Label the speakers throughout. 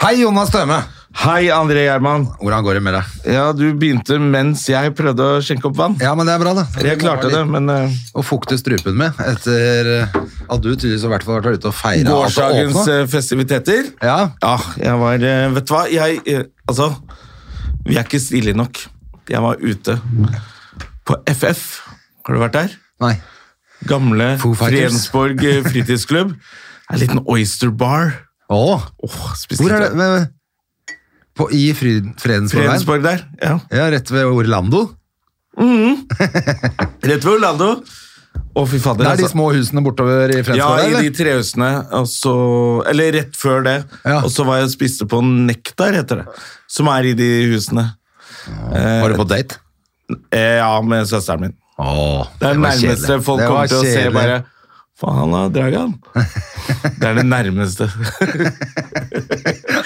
Speaker 1: Hei, Jonas Støme.
Speaker 2: Hei, André Gjerman.
Speaker 1: Hvordan går det med deg?
Speaker 2: Ja, du begynte mens jeg prøvde å skjenke opp vann.
Speaker 1: Ja, men det er bra, det.
Speaker 2: Jeg klarte det, men eh,
Speaker 1: Å fukte strupen med etter eh, at du tydeligvis har vært vært ute og feira
Speaker 2: gårsdagens eh, festiviteter
Speaker 1: Ja.
Speaker 2: Ja, jeg var eh, Vet du hva? Jeg eh, Altså, vi er ikke stille nok. Jeg var ute på FF. Har du vært der?
Speaker 1: Nei.
Speaker 2: Gamle
Speaker 1: Foo Fighters.
Speaker 2: Fredensborg eh, fritidsklubb. En liten oyster bar.
Speaker 1: Å,
Speaker 2: Åh, spiste
Speaker 1: hvor er det
Speaker 2: litt-
Speaker 1: men, på, I Fryd- Fredensborg her?
Speaker 2: Fredensborg der. Ja.
Speaker 1: Ja, rett ved Orlando.
Speaker 2: Rett ved Orlando. Å, fy fader.
Speaker 1: Det er de
Speaker 2: altså.
Speaker 1: små husene bortover i
Speaker 2: Ja,
Speaker 1: Fredensborg?
Speaker 2: i
Speaker 1: eller?
Speaker 2: de trehusene. og så- Eller rett før det.
Speaker 1: Ja.
Speaker 2: Og så var jeg og spiste på Nektar, heter det. Som er i de husene.
Speaker 1: Var du på date?
Speaker 2: Eh, ja, med søsteren min.
Speaker 1: Å,
Speaker 2: Det er det
Speaker 1: var
Speaker 2: nærmeste
Speaker 1: kjedelig.
Speaker 2: folk
Speaker 1: Det var
Speaker 2: kommer til å se
Speaker 1: kjedelig.
Speaker 2: bare Faen, han har draget han. Det er det nærmeste.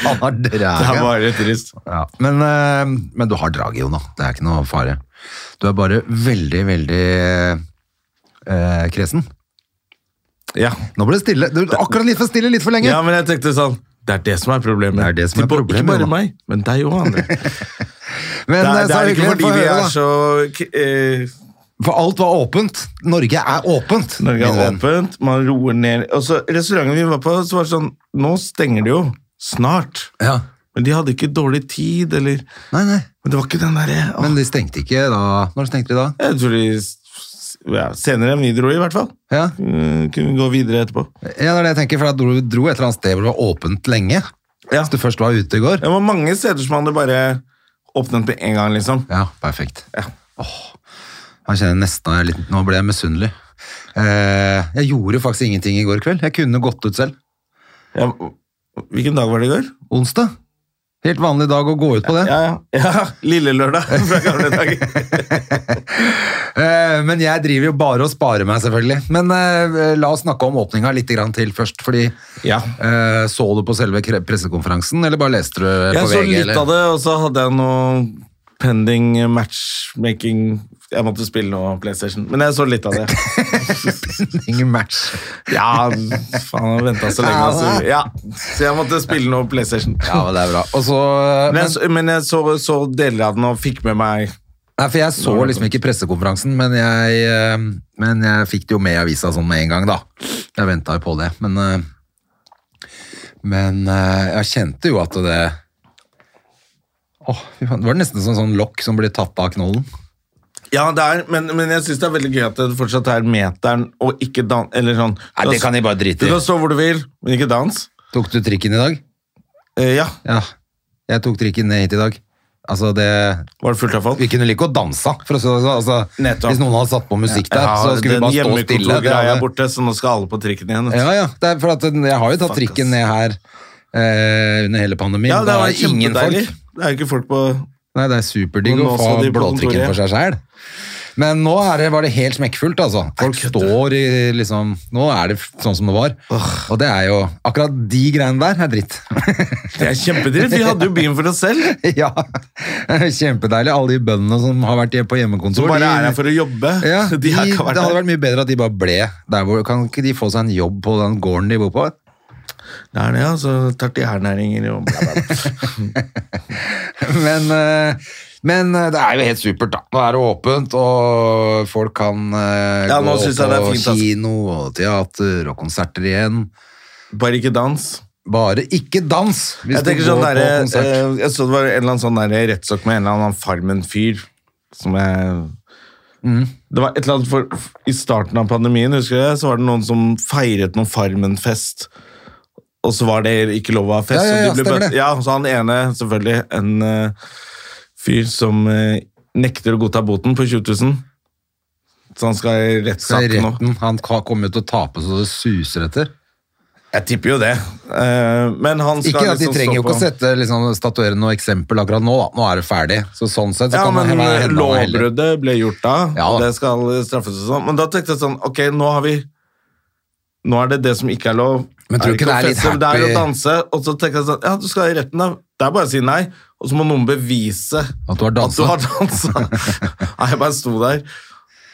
Speaker 1: Han har
Speaker 2: Det er
Speaker 1: draget.
Speaker 2: bare trist.
Speaker 1: Ja. Men, eh, men du har draget, Jonas. Det er ikke noe fare. Du er bare veldig, veldig eh, kresen.
Speaker 2: Ja.
Speaker 1: Nå ble det stille. Du, akkurat litt for stille, litt for lenge.
Speaker 2: ja, men jeg tenkte sånn Det er det som er problemet.
Speaker 1: Det er det som er
Speaker 2: Til bo-
Speaker 1: problemet,
Speaker 2: ikke bare
Speaker 1: da.
Speaker 2: meg, men deg òg, André. Det
Speaker 1: men
Speaker 2: er,
Speaker 1: eh,
Speaker 2: det
Speaker 1: så
Speaker 2: er
Speaker 1: det
Speaker 2: ikke
Speaker 1: hyggelig å
Speaker 2: fordi
Speaker 1: få
Speaker 2: vi
Speaker 1: høre,
Speaker 2: er
Speaker 1: da.
Speaker 2: så eh,
Speaker 1: For alt var åpent. Norge er åpent.
Speaker 2: Norge er
Speaker 1: min venn.
Speaker 2: åpent, man roer ned. Og så Restauranten vi var på, så var det sånn Nå stenger det jo. Snart.
Speaker 1: Ja.
Speaker 2: Men de hadde ikke dårlig tid, eller
Speaker 1: Nei, nei.
Speaker 2: Men det var ikke den derre åh.
Speaker 1: Men de stengte ikke da. Når stengte de da?
Speaker 2: Jeg tror de s- ja, Senere enn vi dro, i hvert fall.
Speaker 1: Ja,
Speaker 2: Eh, Kunne gå videre etterpå.
Speaker 1: ja det er det jeg tenker, for da dro, dro et eller annet sted hvor det var åpent lenge.
Speaker 2: Ja.
Speaker 1: Hvis du først var ute i går.
Speaker 2: Det var mange steder som hadde bare åpnet med en gang, liksom.
Speaker 1: Ja, perfekt. Åh, jeg kjenner nesten jeg er litt, Nå ble jeg misunnelig. Eh, jeg gjorde faktisk ingenting i går kveld. Jeg kunne gått ut selv.
Speaker 2: Ja, hvilken dag var det i går?
Speaker 1: Onsdag. Helt vanlig dag å gå ut på det.
Speaker 2: Ja, ja. ja Lille lørdag fra gamle dager.
Speaker 1: Eh, Men jeg driver jo bare og sparer meg, selvfølgelig. Men eh, la oss snakke om åpninga litt grann til først. fordi
Speaker 2: Ja.
Speaker 1: eh, Så du på selve kre- pressekonferansen, eller bare leste du på
Speaker 2: Jeg så
Speaker 1: VG?
Speaker 2: litt
Speaker 1: eller?
Speaker 2: av det, og så hadde jeg noe pending matchmaking Jeg måtte spille noe PlayStation, men jeg så litt av det.
Speaker 1: Ingen match.
Speaker 2: Ja, faen, jeg venta så lenge. Altså. Ja, så jeg måtte spille noe PlayStation.
Speaker 1: Ja, men det er bra. Og så,
Speaker 2: Men
Speaker 1: men,
Speaker 2: jeg, så- men jeg så, så deler av den og fikk med meg
Speaker 1: nei, for jeg så liksom ikke pressekonferansen, men jeg, eh, men jeg fikk det jo med i avisa sånn med en gang, da. Jeg venta jo på det. Men, eh, men eh, jeg kjente jo at det Åh, fy faen. Det var nesten som sånn lokk som blir tatt av knollen.
Speaker 2: Ja, det er, men, men jeg syns det er veldig gøy at det fortsatt er meteren og ikke dans... Eller sånn
Speaker 1: Nei, det kan jeg bare drite i.
Speaker 2: Du kan stå hvor du vil, men ikke dans.
Speaker 1: Tok du trikken i dag?
Speaker 2: Eh, ja.
Speaker 1: Ja, jeg tok trikken ned hit i dag. Altså, det,
Speaker 2: Var det fullt av folk?
Speaker 1: vi kunne like å danse, for å si det sånn. Altså,
Speaker 2: Nettopp.
Speaker 1: hvis noen hadde satt på musikk der,
Speaker 2: Ja,
Speaker 1: så skulle vi
Speaker 2: den
Speaker 1: bare stå stille. Det
Speaker 2: hjemmekontorgreia er
Speaker 1: hadde-
Speaker 2: borte, så nå skal alle på trikken igjen. vet du.
Speaker 1: Ja, ja, det er for at den- jeg har jo tatt
Speaker 2: Fuck,
Speaker 1: trikken
Speaker 2: ass.
Speaker 1: ned her eh, under hele pandemien.
Speaker 2: Ja, det var
Speaker 1: er ingen
Speaker 2: kjempedeilig.
Speaker 1: folk.
Speaker 2: Det er jo ikke folk på
Speaker 1: Nei, det er superdigg
Speaker 2: Men
Speaker 1: å
Speaker 2: nå skal
Speaker 1: få
Speaker 2: de på
Speaker 1: blåtrikken
Speaker 2: kontoret.
Speaker 1: for seg selv. Men nå er det, var det helt smekkfullt, altså. Folk står i liksom Nå er det sånn som det var. Og det er jo Akkurat de greiene der er dritt.
Speaker 2: Det er kjempedritt. Vi hadde jo byen for oss selv.
Speaker 1: Ja, kjempedeilig. Alle de bøndene som har vært på hjemmekontor.
Speaker 2: Som bare
Speaker 1: de-
Speaker 2: er her for å jobbe.
Speaker 1: ja, de,
Speaker 2: De har
Speaker 1: Det
Speaker 2: ikke vært
Speaker 1: hadde
Speaker 2: her.
Speaker 1: vært mye bedre at de bare ble der. Hvor, kan ikke de få seg en jobb på den gården de bor på?
Speaker 2: Det er det, ja. Så tertiærnæringer og bla, bla, bla.
Speaker 1: Men, eh, men eh, det er jo helt supert, da. Nå er det åpent, og folk kan eh,
Speaker 2: Ja, nå
Speaker 1: gå
Speaker 2: synes jeg det er
Speaker 1: på
Speaker 2: fint, altså.
Speaker 1: kino og teater og konserter igjen.
Speaker 2: Bare ikke dans.
Speaker 1: Bare ikke dans hvis
Speaker 2: Jeg
Speaker 1: du går
Speaker 2: tenker sånn
Speaker 1: på
Speaker 2: der,
Speaker 1: konsert.
Speaker 2: eh, jeg så det var en eller annen sånn der rettsak med en eller annen Farmen-fyr som jeg
Speaker 1: Mm.
Speaker 2: Det var et eller annet for, I starten av pandemien husker jeg, så var det noen som feiret noen Farmen-fest. Og så var det ikke lov å ha fest.
Speaker 1: Ja, ja, ja,
Speaker 2: og de ble
Speaker 1: stemmer
Speaker 2: bøtt-
Speaker 1: det.
Speaker 2: ja, så han ene, selvfølgelig, en eh, fyr som eh, nekter å godta boten på 20 000. Så han skal i
Speaker 1: Så er
Speaker 2: rettssak nå.
Speaker 1: retten, han ka- kommer jo til å tape så det suser etter.
Speaker 2: Jeg tipper jo det. Eh, Men han skal
Speaker 1: Ikke at De
Speaker 2: liksom stå
Speaker 1: trenger jo ikke
Speaker 2: på-
Speaker 1: å sette, liksom, statuere noe eksempel akkurat nå. da. Nå er det ferdig. Så sånn sett så
Speaker 2: Ja,
Speaker 1: kan man
Speaker 2: men
Speaker 1: hende hende han er heldig.
Speaker 2: lovbruddet ble gjort da,
Speaker 1: Ja,
Speaker 2: og
Speaker 1: da.
Speaker 2: det skal straffes og sånn. Men da tenkte jeg sånn, ok, nå har vi Nå er det det som ikke er lov.
Speaker 1: Men tror du
Speaker 2: å
Speaker 1: ikke det er litt
Speaker 2: feste, men Det er
Speaker 1: happy-
Speaker 2: å danse, og så tenker jeg sånn, ja, du skal i retten da. Det er bare å si nei, og så må noen bevise
Speaker 1: At du har danset.
Speaker 2: At du har danset. nei, jeg bare sto der.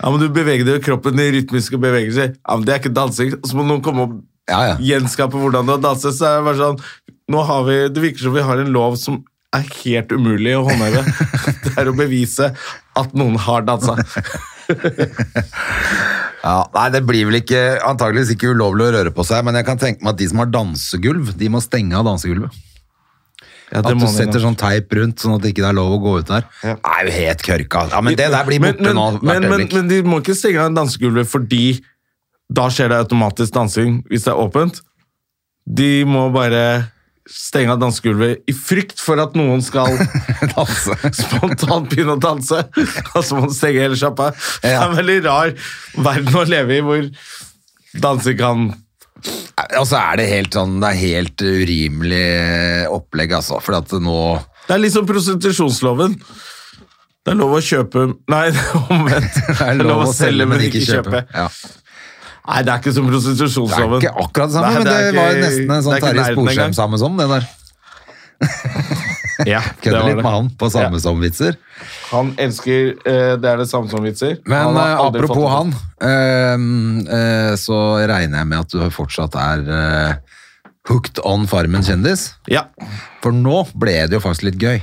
Speaker 2: Ja, men du beveger jo kroppen i rytmiske bevegelser. Ja, men det er ikke dansing. Og så må noen komme og
Speaker 1: Ja, ja.
Speaker 2: gjenskape hvordan du har danset, så er det bare sånn nå har vi, Det virker som vi har en lov som er helt umulig å håndheve. Det er å bevise at noen har dansa.
Speaker 1: Ja, nei, det blir vel ikke, antageligvis ikke ulovlig å røre på seg, men jeg kan tenke meg at de som har dansegulv, de må stenge av dansegulvet. At du setter sånn teip rundt, sånn at det ikke er lov å gå ut der. Det er jo helt kørka. altså. Ja, men det der blir borte
Speaker 2: men,
Speaker 1: nå
Speaker 2: men,
Speaker 1: hvert
Speaker 2: men,
Speaker 1: øyeblikk.
Speaker 2: men de må ikke stenge av dansegulvet fordi da skjer det automatisk dansing hvis det er åpent. De må bare stenge av dansegulvet i frykt for at noen skal
Speaker 1: Danse.
Speaker 2: spontant begynne å danse, og så må du stenge hele sjappa. Det er
Speaker 1: Ja.
Speaker 2: en veldig rar verden å leve i, hvor dansing kan
Speaker 1: Og så er det helt sånn, det er helt urimelig opplegg, altså. For at nå
Speaker 2: Det er liksom prostitusjonsloven. Det er lov å kjøpe Nei, omvendt.
Speaker 1: det er lov å selge, men ikke kjøpe. Ja.
Speaker 2: Nei, det er ikke som
Speaker 1: Det er
Speaker 2: prostitusjonsloven.
Speaker 1: ikke akkurat det samme,
Speaker 2: Nei,
Speaker 1: men det,
Speaker 2: er ikke-
Speaker 1: var jo nesten en
Speaker 2: det
Speaker 1: sånn
Speaker 2: er ikke
Speaker 1: Terje
Speaker 2: nærheten engang.
Speaker 1: Sporsem samme som, det der.
Speaker 2: Ja, det
Speaker 1: Kødder
Speaker 2: var
Speaker 1: litt
Speaker 2: det.
Speaker 1: med han på samme
Speaker 2: Ja.
Speaker 1: som vitser.
Speaker 2: Han elsker eh, Det er det samme som vitser.
Speaker 1: Men
Speaker 2: Han har
Speaker 1: eh,
Speaker 2: aldri fått
Speaker 1: apropos
Speaker 2: det.
Speaker 1: han, eh, eh, så regner jeg med at du fortsatt er eh, hooked on Farmen kjendis.
Speaker 2: Ja.
Speaker 1: For nå ble det jo faktisk litt gøy.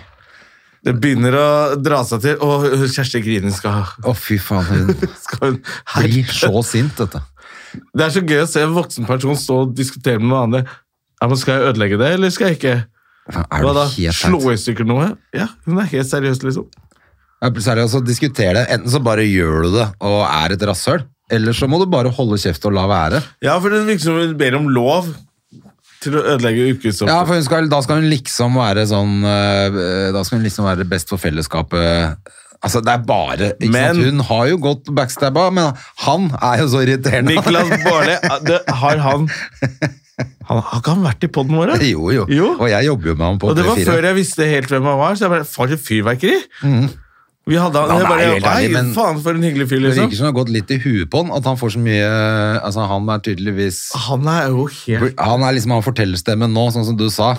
Speaker 2: Det begynner å dra seg til. Å, Kjersti Grini skal,
Speaker 1: Å, fy faen. Hun
Speaker 2: skal hun
Speaker 1: blir så sint, dette.
Speaker 2: Det er så gøy å se en voksen person stå og diskutere med noen andre. Ja, men skal jeg ødelegge det, eller skal jeg ikke?
Speaker 1: Er
Speaker 2: Hva
Speaker 1: du
Speaker 2: da?
Speaker 1: helt
Speaker 2: Slå
Speaker 1: teit?
Speaker 2: i stykker noe? Ja, hun er helt seriøs, liksom.
Speaker 1: Ja, Særlig altså, diskuter det. Enten så bare gjør du det og er et rasshøl, eller så må du bare holde kjeft og la være.
Speaker 2: Ja, for det virker som hun ber om lov til å ødelegge ukesopphold.
Speaker 1: Ja, for hun skal, da skal hun liksom være sånn øh, Da skal hun liksom være best for fellesskapet. Altså, det er bare ikke
Speaker 2: Men-
Speaker 1: sant? Hun har jo gått backstabba, men han er jo så irriterende.
Speaker 2: Niklas Baarli, det- har han Han Har ikke han vært i poden vår? da?
Speaker 1: jo, jo,
Speaker 2: Jo.
Speaker 1: Og jeg jobber jo med ham på
Speaker 2: Og det var før
Speaker 1: P4.
Speaker 2: jeg visste helt hvem han var, så jeg bare For et fyrverkeri! Vi hadde han,
Speaker 1: Mhm. Han
Speaker 2: jeg
Speaker 1: er
Speaker 2: bare,
Speaker 1: jo helt ærlig,
Speaker 2: «Ei,
Speaker 1: men-
Speaker 2: Faen, for en hyggelig fyr,
Speaker 1: Det virker
Speaker 2: liksom.
Speaker 1: som det har gått litt i huet på han, at han får så mye Altså, han er tydeligvis
Speaker 2: Han er jo helt
Speaker 1: Han er liksom han fortellerstemmen nå, sånn som du sa.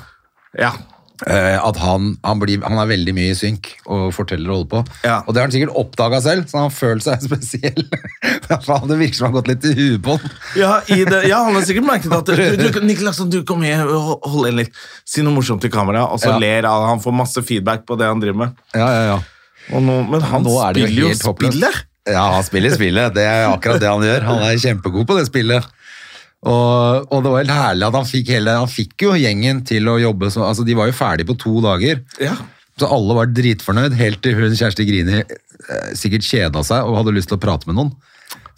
Speaker 2: Ja.
Speaker 1: eh, At han, han, blir, han er veldig mye i synk og forteller og holder på.
Speaker 2: Ja.
Speaker 1: Og det har han sikkert oppdaga selv, så han har følt seg spesiell. Faen, det virker som han har gått litt i huet på han.
Speaker 2: Ja, i det, ja, han har sikkert merket at du, du, Niklas, du kom her og hold inn litt. Si noe morsomt til kamera, og så
Speaker 1: Ja.
Speaker 2: ler han. Han får masse feedback på det han driver med.
Speaker 1: Ja, ja, ja.
Speaker 2: Og nå, men han
Speaker 1: Nå er det jo
Speaker 2: spiller jo
Speaker 1: helt håpløst.
Speaker 2: spillet!
Speaker 1: Ja, han spiller spillet. Det er akkurat det han gjør. Han er kjempegod på det spillet. Og, og det var helt herlig at han fikk, hele, han fikk jo gjengen til å jobbe. Så, altså, de var jo ferdige på to dager.
Speaker 2: Ja.
Speaker 1: Så alle var dritfornøyd, helt til hun Kjersti Grini eh, sikkert kjeda seg og hadde lyst til å prate med noen.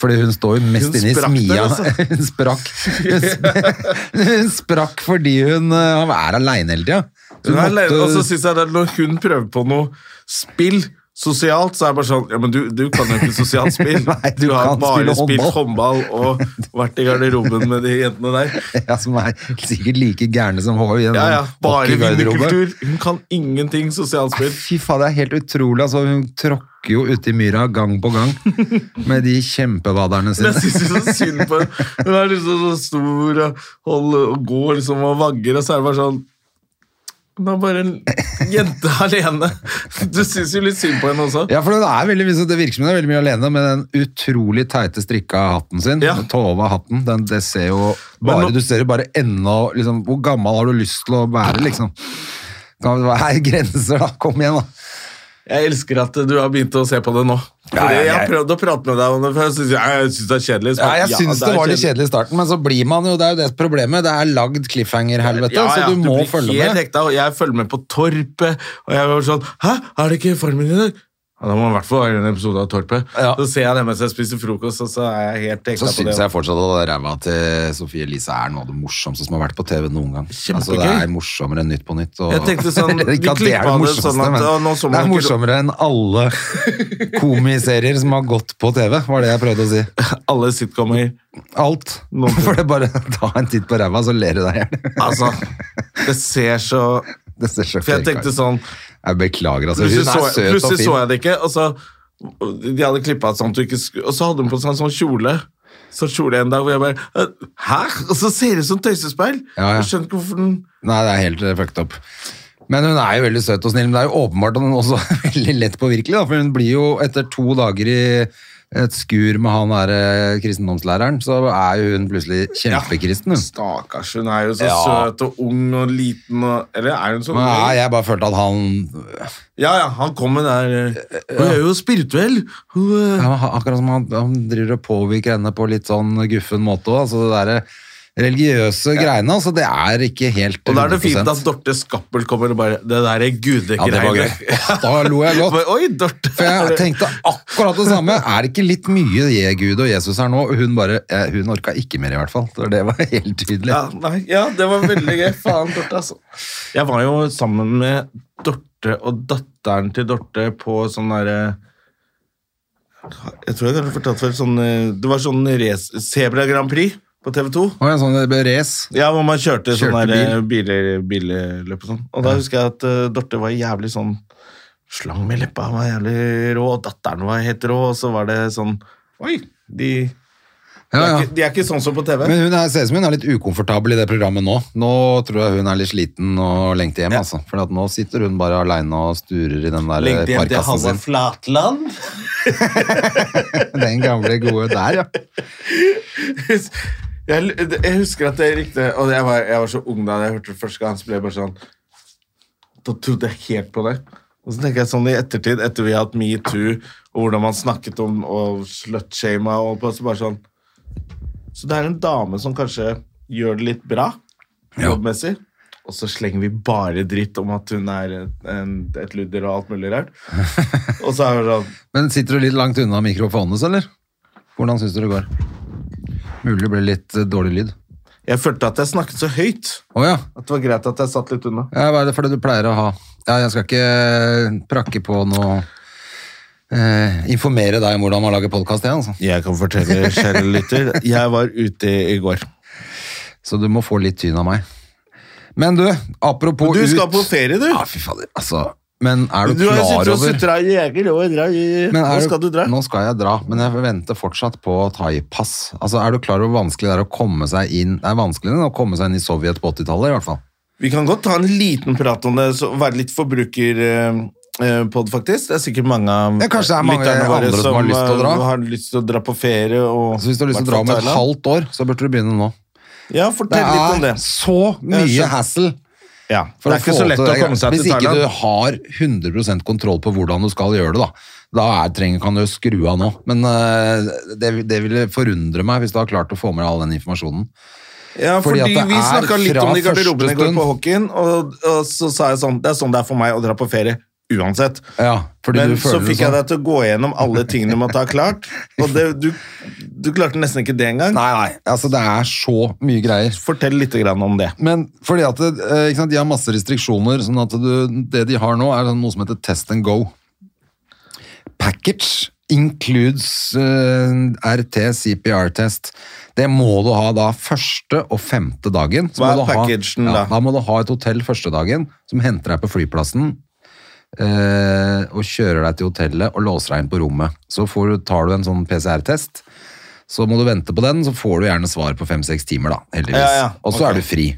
Speaker 1: Fordi hun står jo mest
Speaker 2: Hun
Speaker 1: inne i
Speaker 2: sprakk
Speaker 1: smia.
Speaker 2: der, altså.
Speaker 1: Hun sprakk. Hun, sp hun sprakk fordi hun eh, er aleine hele tida.
Speaker 2: Hun er alene, Og så synes jeg at når hun prøver på noe spill sosialt, så er det bare sånn Ja, men du, du kan jo ikke sosialt spill.
Speaker 1: Nei, du
Speaker 2: har
Speaker 1: kan
Speaker 2: bare
Speaker 1: spille
Speaker 2: spilt håndball og vært i garderoben med de jentene der.
Speaker 1: ja, Som er sikkert like gærne som Hoi. i en
Speaker 2: Ja, ja.
Speaker 1: sånn
Speaker 2: Bare
Speaker 1: hockeygarderobe.
Speaker 2: vinnerkultur. Hun kan ingenting sosialt spill.
Speaker 1: Fy faen, det er helt utrolig. Altså, hun tråkker jo uti myra gang på gang med de kjempevaderne
Speaker 2: Men
Speaker 1: sine.
Speaker 2: Jeg synes jo så synd på henne. Hun er liksom så stor og, holder, og går liksom og vagger, og så er det bare sånn Hun er bare en jente alene. Du syns jo litt synd på henne også.
Speaker 1: Ja, for det, er veldig, mye- det virker som hun er veldig mye alene med den utrolig teite strikka hatten sin.
Speaker 2: Ja.
Speaker 1: Tova-hatten. Den, det ser jo bare,
Speaker 2: Men nå-
Speaker 1: du ser jo bare ennå liksom, Hvor gammel har du lyst til å være, liksom? Kan det være grenser, da? Kom igjen, da.
Speaker 2: Jeg elsker at du har begynt å se på det nå. Fordi
Speaker 1: Ja, ja,
Speaker 2: Jeg har
Speaker 1: jeg-
Speaker 2: prøvd å prate med deg om det før. Jeg synes, jeg synes det er kjedelig. Så
Speaker 1: Ja,
Speaker 2: bare,
Speaker 1: jeg syns
Speaker 2: er
Speaker 1: det var litt kjedelig i starten, men så blir man jo Det er jo det problemet. Det er lagd cliffhanger-helvete,
Speaker 2: Ja, ja,
Speaker 1: så du må
Speaker 2: blir
Speaker 1: følge
Speaker 2: helt
Speaker 1: med.
Speaker 2: Hekta, og jeg følger med på Torpet, og jeg var sånn Hæ, er det ikke Farmen i dag? Ja, da må man i hvert fall være en episode av Torpet.
Speaker 1: Ja.
Speaker 2: Så ser jeg det mens jeg spiser frokost, og så er jeg helt
Speaker 1: Så
Speaker 2: hekta på det.
Speaker 1: syns jeg fortsatt at det ræva til Sofie Elise er noe av det morsomste som har vært på TV noen gang. Altså, det er morsommere enn Nytt på Nytt. Og...
Speaker 2: Jeg tenkte sånn, vi
Speaker 1: ikke at det er det
Speaker 2: klippa det
Speaker 1: morsomste,
Speaker 2: sånn at,
Speaker 1: men
Speaker 2: ja, nå så
Speaker 1: det er
Speaker 2: man ikke-
Speaker 1: morsommere enn alle komiserier som har gått på TV, var det jeg prøvde å si.
Speaker 2: Alle sitcomer.
Speaker 1: Alt.
Speaker 2: Noen ting.
Speaker 1: For det er bare ta en titt på ræva, så ler du deg i hjel.
Speaker 2: Altså, det ser så
Speaker 1: Det ser så
Speaker 2: For jeg
Speaker 1: fake
Speaker 2: tenkte
Speaker 1: ut.
Speaker 2: sånn
Speaker 1: Jeg beklager, altså. Hun
Speaker 2: Plutselig så
Speaker 1: er
Speaker 2: jeg,
Speaker 1: søt og
Speaker 2: plutselig så
Speaker 1: fin.
Speaker 2: jeg det ikke, og så De hadde klippa sånn at du ikke skulle Og så hadde hun på seg en sånn kjole. Sånn kjole en dag hvor jeg bare «Øh, Hæ?! Og så ser det ut som tøysespeil!
Speaker 1: Ja, ja.
Speaker 2: Jeg skjønner ikke hvorfor den
Speaker 1: Nei, det er helt eh, fucked up. Men hun er jo veldig søt og snill, men det er jo åpenbart at hun også er veldig lett påvirkelig, da, for hun blir jo etter to dager i et skur med han der eh, kristendomslæreren, så er jo hun plutselig kjempekristen, hun.
Speaker 2: Stakkars, hun er jo så søt og ung og liten og Eller er hun så ung?
Speaker 1: Nei, eh, jeg bare følte at han
Speaker 2: Ja, ja, han kommer der eh, Hun er jo spirituell! Hun, eh,
Speaker 1: ja, Akkurat som han, han driver og påvirker henne på litt sånn guffen måte òg. Altså det derre religiøse greiene, altså det er ikke helt 100
Speaker 2: og da er det fint at Dorte Skappel kommer og bare Det der er
Speaker 1: Ja, det var
Speaker 2: gudegreiene.
Speaker 1: gøy. Åh, Da lo jeg godt.
Speaker 2: Bare, Oi, Dorte!
Speaker 1: For jeg tenkte akkurat det samme. Er det ikke litt mye Je- Gud og Jesus her nå? Og Hun bare, eh, hun orka ikke mer i hvert fall. Det var helt tydelig.
Speaker 2: Ja, nei, ja, det var veldig gøy. Faen, Dorte, altså. Jeg var jo sammen med Dorte og datteren til Dorte på sånn derre Jeg tror jeg kanskje fortalte før. Sånn, eh, det var sånn race- Zebra Grand Prix på TV 2.
Speaker 1: Og en sånn eh, race.
Speaker 2: Ja, hvor man kjørte,
Speaker 1: Kjørte
Speaker 2: sånn der, biler, billøp og sånn. Og da husker jeg at eh, Dorte var jævlig sånn Slang med leppa var jævlig rå, og datteren var helt rå, og så var det sånn Oi! De, de,
Speaker 1: Ja,
Speaker 2: er,
Speaker 1: ja.
Speaker 2: ikke, de er ikke sånn som på TV.
Speaker 1: Men hun er, ser ut som hun er litt ukomfortabel i det programmet nå. Nå tror jeg hun er litt sliten og lengter hjem, altså. For at nå sitter hun bare aleine og sturer i den der eh,
Speaker 2: Lengter hjem til
Speaker 1: parkassen
Speaker 2: Halvard
Speaker 1: sin.
Speaker 2: Flatland.
Speaker 1: Den gamle gode der, ja.
Speaker 2: jeg, jeg husker at det er riktig Og jeg var, jeg var så ung da jeg hørte det første gang, så ble jeg bare sånn Da trodde jeg helt på det. Og så tenker jeg sånn i ettertid, etter vi har hatt metoo, og hvordan man snakket om og slutshama og på, så bare sånn Så det er en dame som kanskje gjør det litt bra jobbmessig. Og så slenger vi bare dritt om at hun er en, en, et ludder og alt mulig rart. Og så er det sånn
Speaker 1: Men sitter du litt langt unna mikrofonen, eller? Hvordan syns du det går? Mulig det ble litt eh, dårlig lyd.
Speaker 2: Jeg følte at jeg snakket så høyt
Speaker 1: Å ja.
Speaker 2: at det var greit at jeg satt litt unna.
Speaker 1: Ja, hva er det for det du pleier å ha? Ja, jeg skal ikke eh, prakke på noe eh, Informere deg om hvordan man lager podkast, jeg, altså.
Speaker 2: Jeg kan fortelle, kjære lytter, jeg var ute i går.
Speaker 1: Så du må få litt tyn av meg. Men du, apropos
Speaker 2: Du skal
Speaker 1: ut
Speaker 2: på ferie, du!
Speaker 1: Ja, fy fader, altså. Men er du,
Speaker 2: Du har jo
Speaker 1: klar
Speaker 2: sittet og
Speaker 1: over
Speaker 2: sutra i jeger og dra i
Speaker 1: men
Speaker 2: Nå
Speaker 1: er
Speaker 2: skal du dra.
Speaker 1: Nå skal jeg dra, men jeg venter fortsatt på thaipass. Altså, er du klar over hvor vanskelig det er å komme seg inn Det er vanskeligere enn å komme seg inn i Sovjet på 80-tallet, i hvert fall.
Speaker 2: Vi kan godt ta en liten prat om det, så være litt forbrukerpod, faktisk. Det er sikkert mange av
Speaker 1: Ja, kanskje det er mange andre som har lyst til å dra.
Speaker 2: eh, har lyst til å dra på ferie. Og,
Speaker 1: Så hvis du har lyst til å dra om et
Speaker 2: Thailand.
Speaker 1: halvt år, så burde du begynne nå.
Speaker 2: Ja,
Speaker 1: Det
Speaker 2: fortell litt om det.
Speaker 1: er så mye
Speaker 2: skjønner.
Speaker 1: hassle.
Speaker 2: Ja,
Speaker 1: For
Speaker 2: det er
Speaker 1: å
Speaker 2: ikke
Speaker 1: få
Speaker 2: så lett
Speaker 1: til
Speaker 2: å
Speaker 1: det.
Speaker 2: komme seg
Speaker 1: Hvis
Speaker 2: til
Speaker 1: ikke
Speaker 2: Thailand.
Speaker 1: du har 100 kontroll på hvordan du skal gjøre det, da, da er, trenger, kan du jo skru av nå. Men eh, det, det ville forundre meg hvis du har klart å få med deg all den informasjonen.
Speaker 2: Ja,
Speaker 1: Fordi
Speaker 2: fordi,
Speaker 1: at det
Speaker 2: vi
Speaker 1: er
Speaker 2: snakka litt om det i
Speaker 1: fra
Speaker 2: garderoben i går
Speaker 1: første
Speaker 2: på
Speaker 1: stund.
Speaker 2: hockeyen, og, og så sa jeg sånn Det er sånn det er for meg å dra på ferie. Uansett.
Speaker 1: Ja, fordi
Speaker 2: Men
Speaker 1: du
Speaker 2: så
Speaker 1: føler det
Speaker 2: fikk jeg
Speaker 1: sånn.
Speaker 2: deg til å gå gjennom alle tingene du måtte ha klart, og det, du, du klarte nesten ikke det engang.
Speaker 1: Nei, nei, altså det er så mye greier.
Speaker 2: Fortell litt grann om det.
Speaker 1: Men fordi at det, eh, ikke sant, de har masse restriksjoner, sånn at du, det de har nå er sånn noe som heter test and go. Package includes eh, RT, CPR test. Det må du ha da første og femte dagen. Så
Speaker 2: Hva
Speaker 1: må
Speaker 2: er
Speaker 1: du ha-
Speaker 2: packagen da?
Speaker 1: Ja, da må du ha et hotell første dagen, som henter deg på flyplassen, eh, og kjører deg til hotellet og låser deg inn på rommet. Så får, du- tar du en sånn PCR-test, så må du vente på den, så får du gjerne svar på fem-seks timer da, heldigvis.
Speaker 2: Ja, ja,
Speaker 1: Og så
Speaker 2: ok.
Speaker 1: er du fri.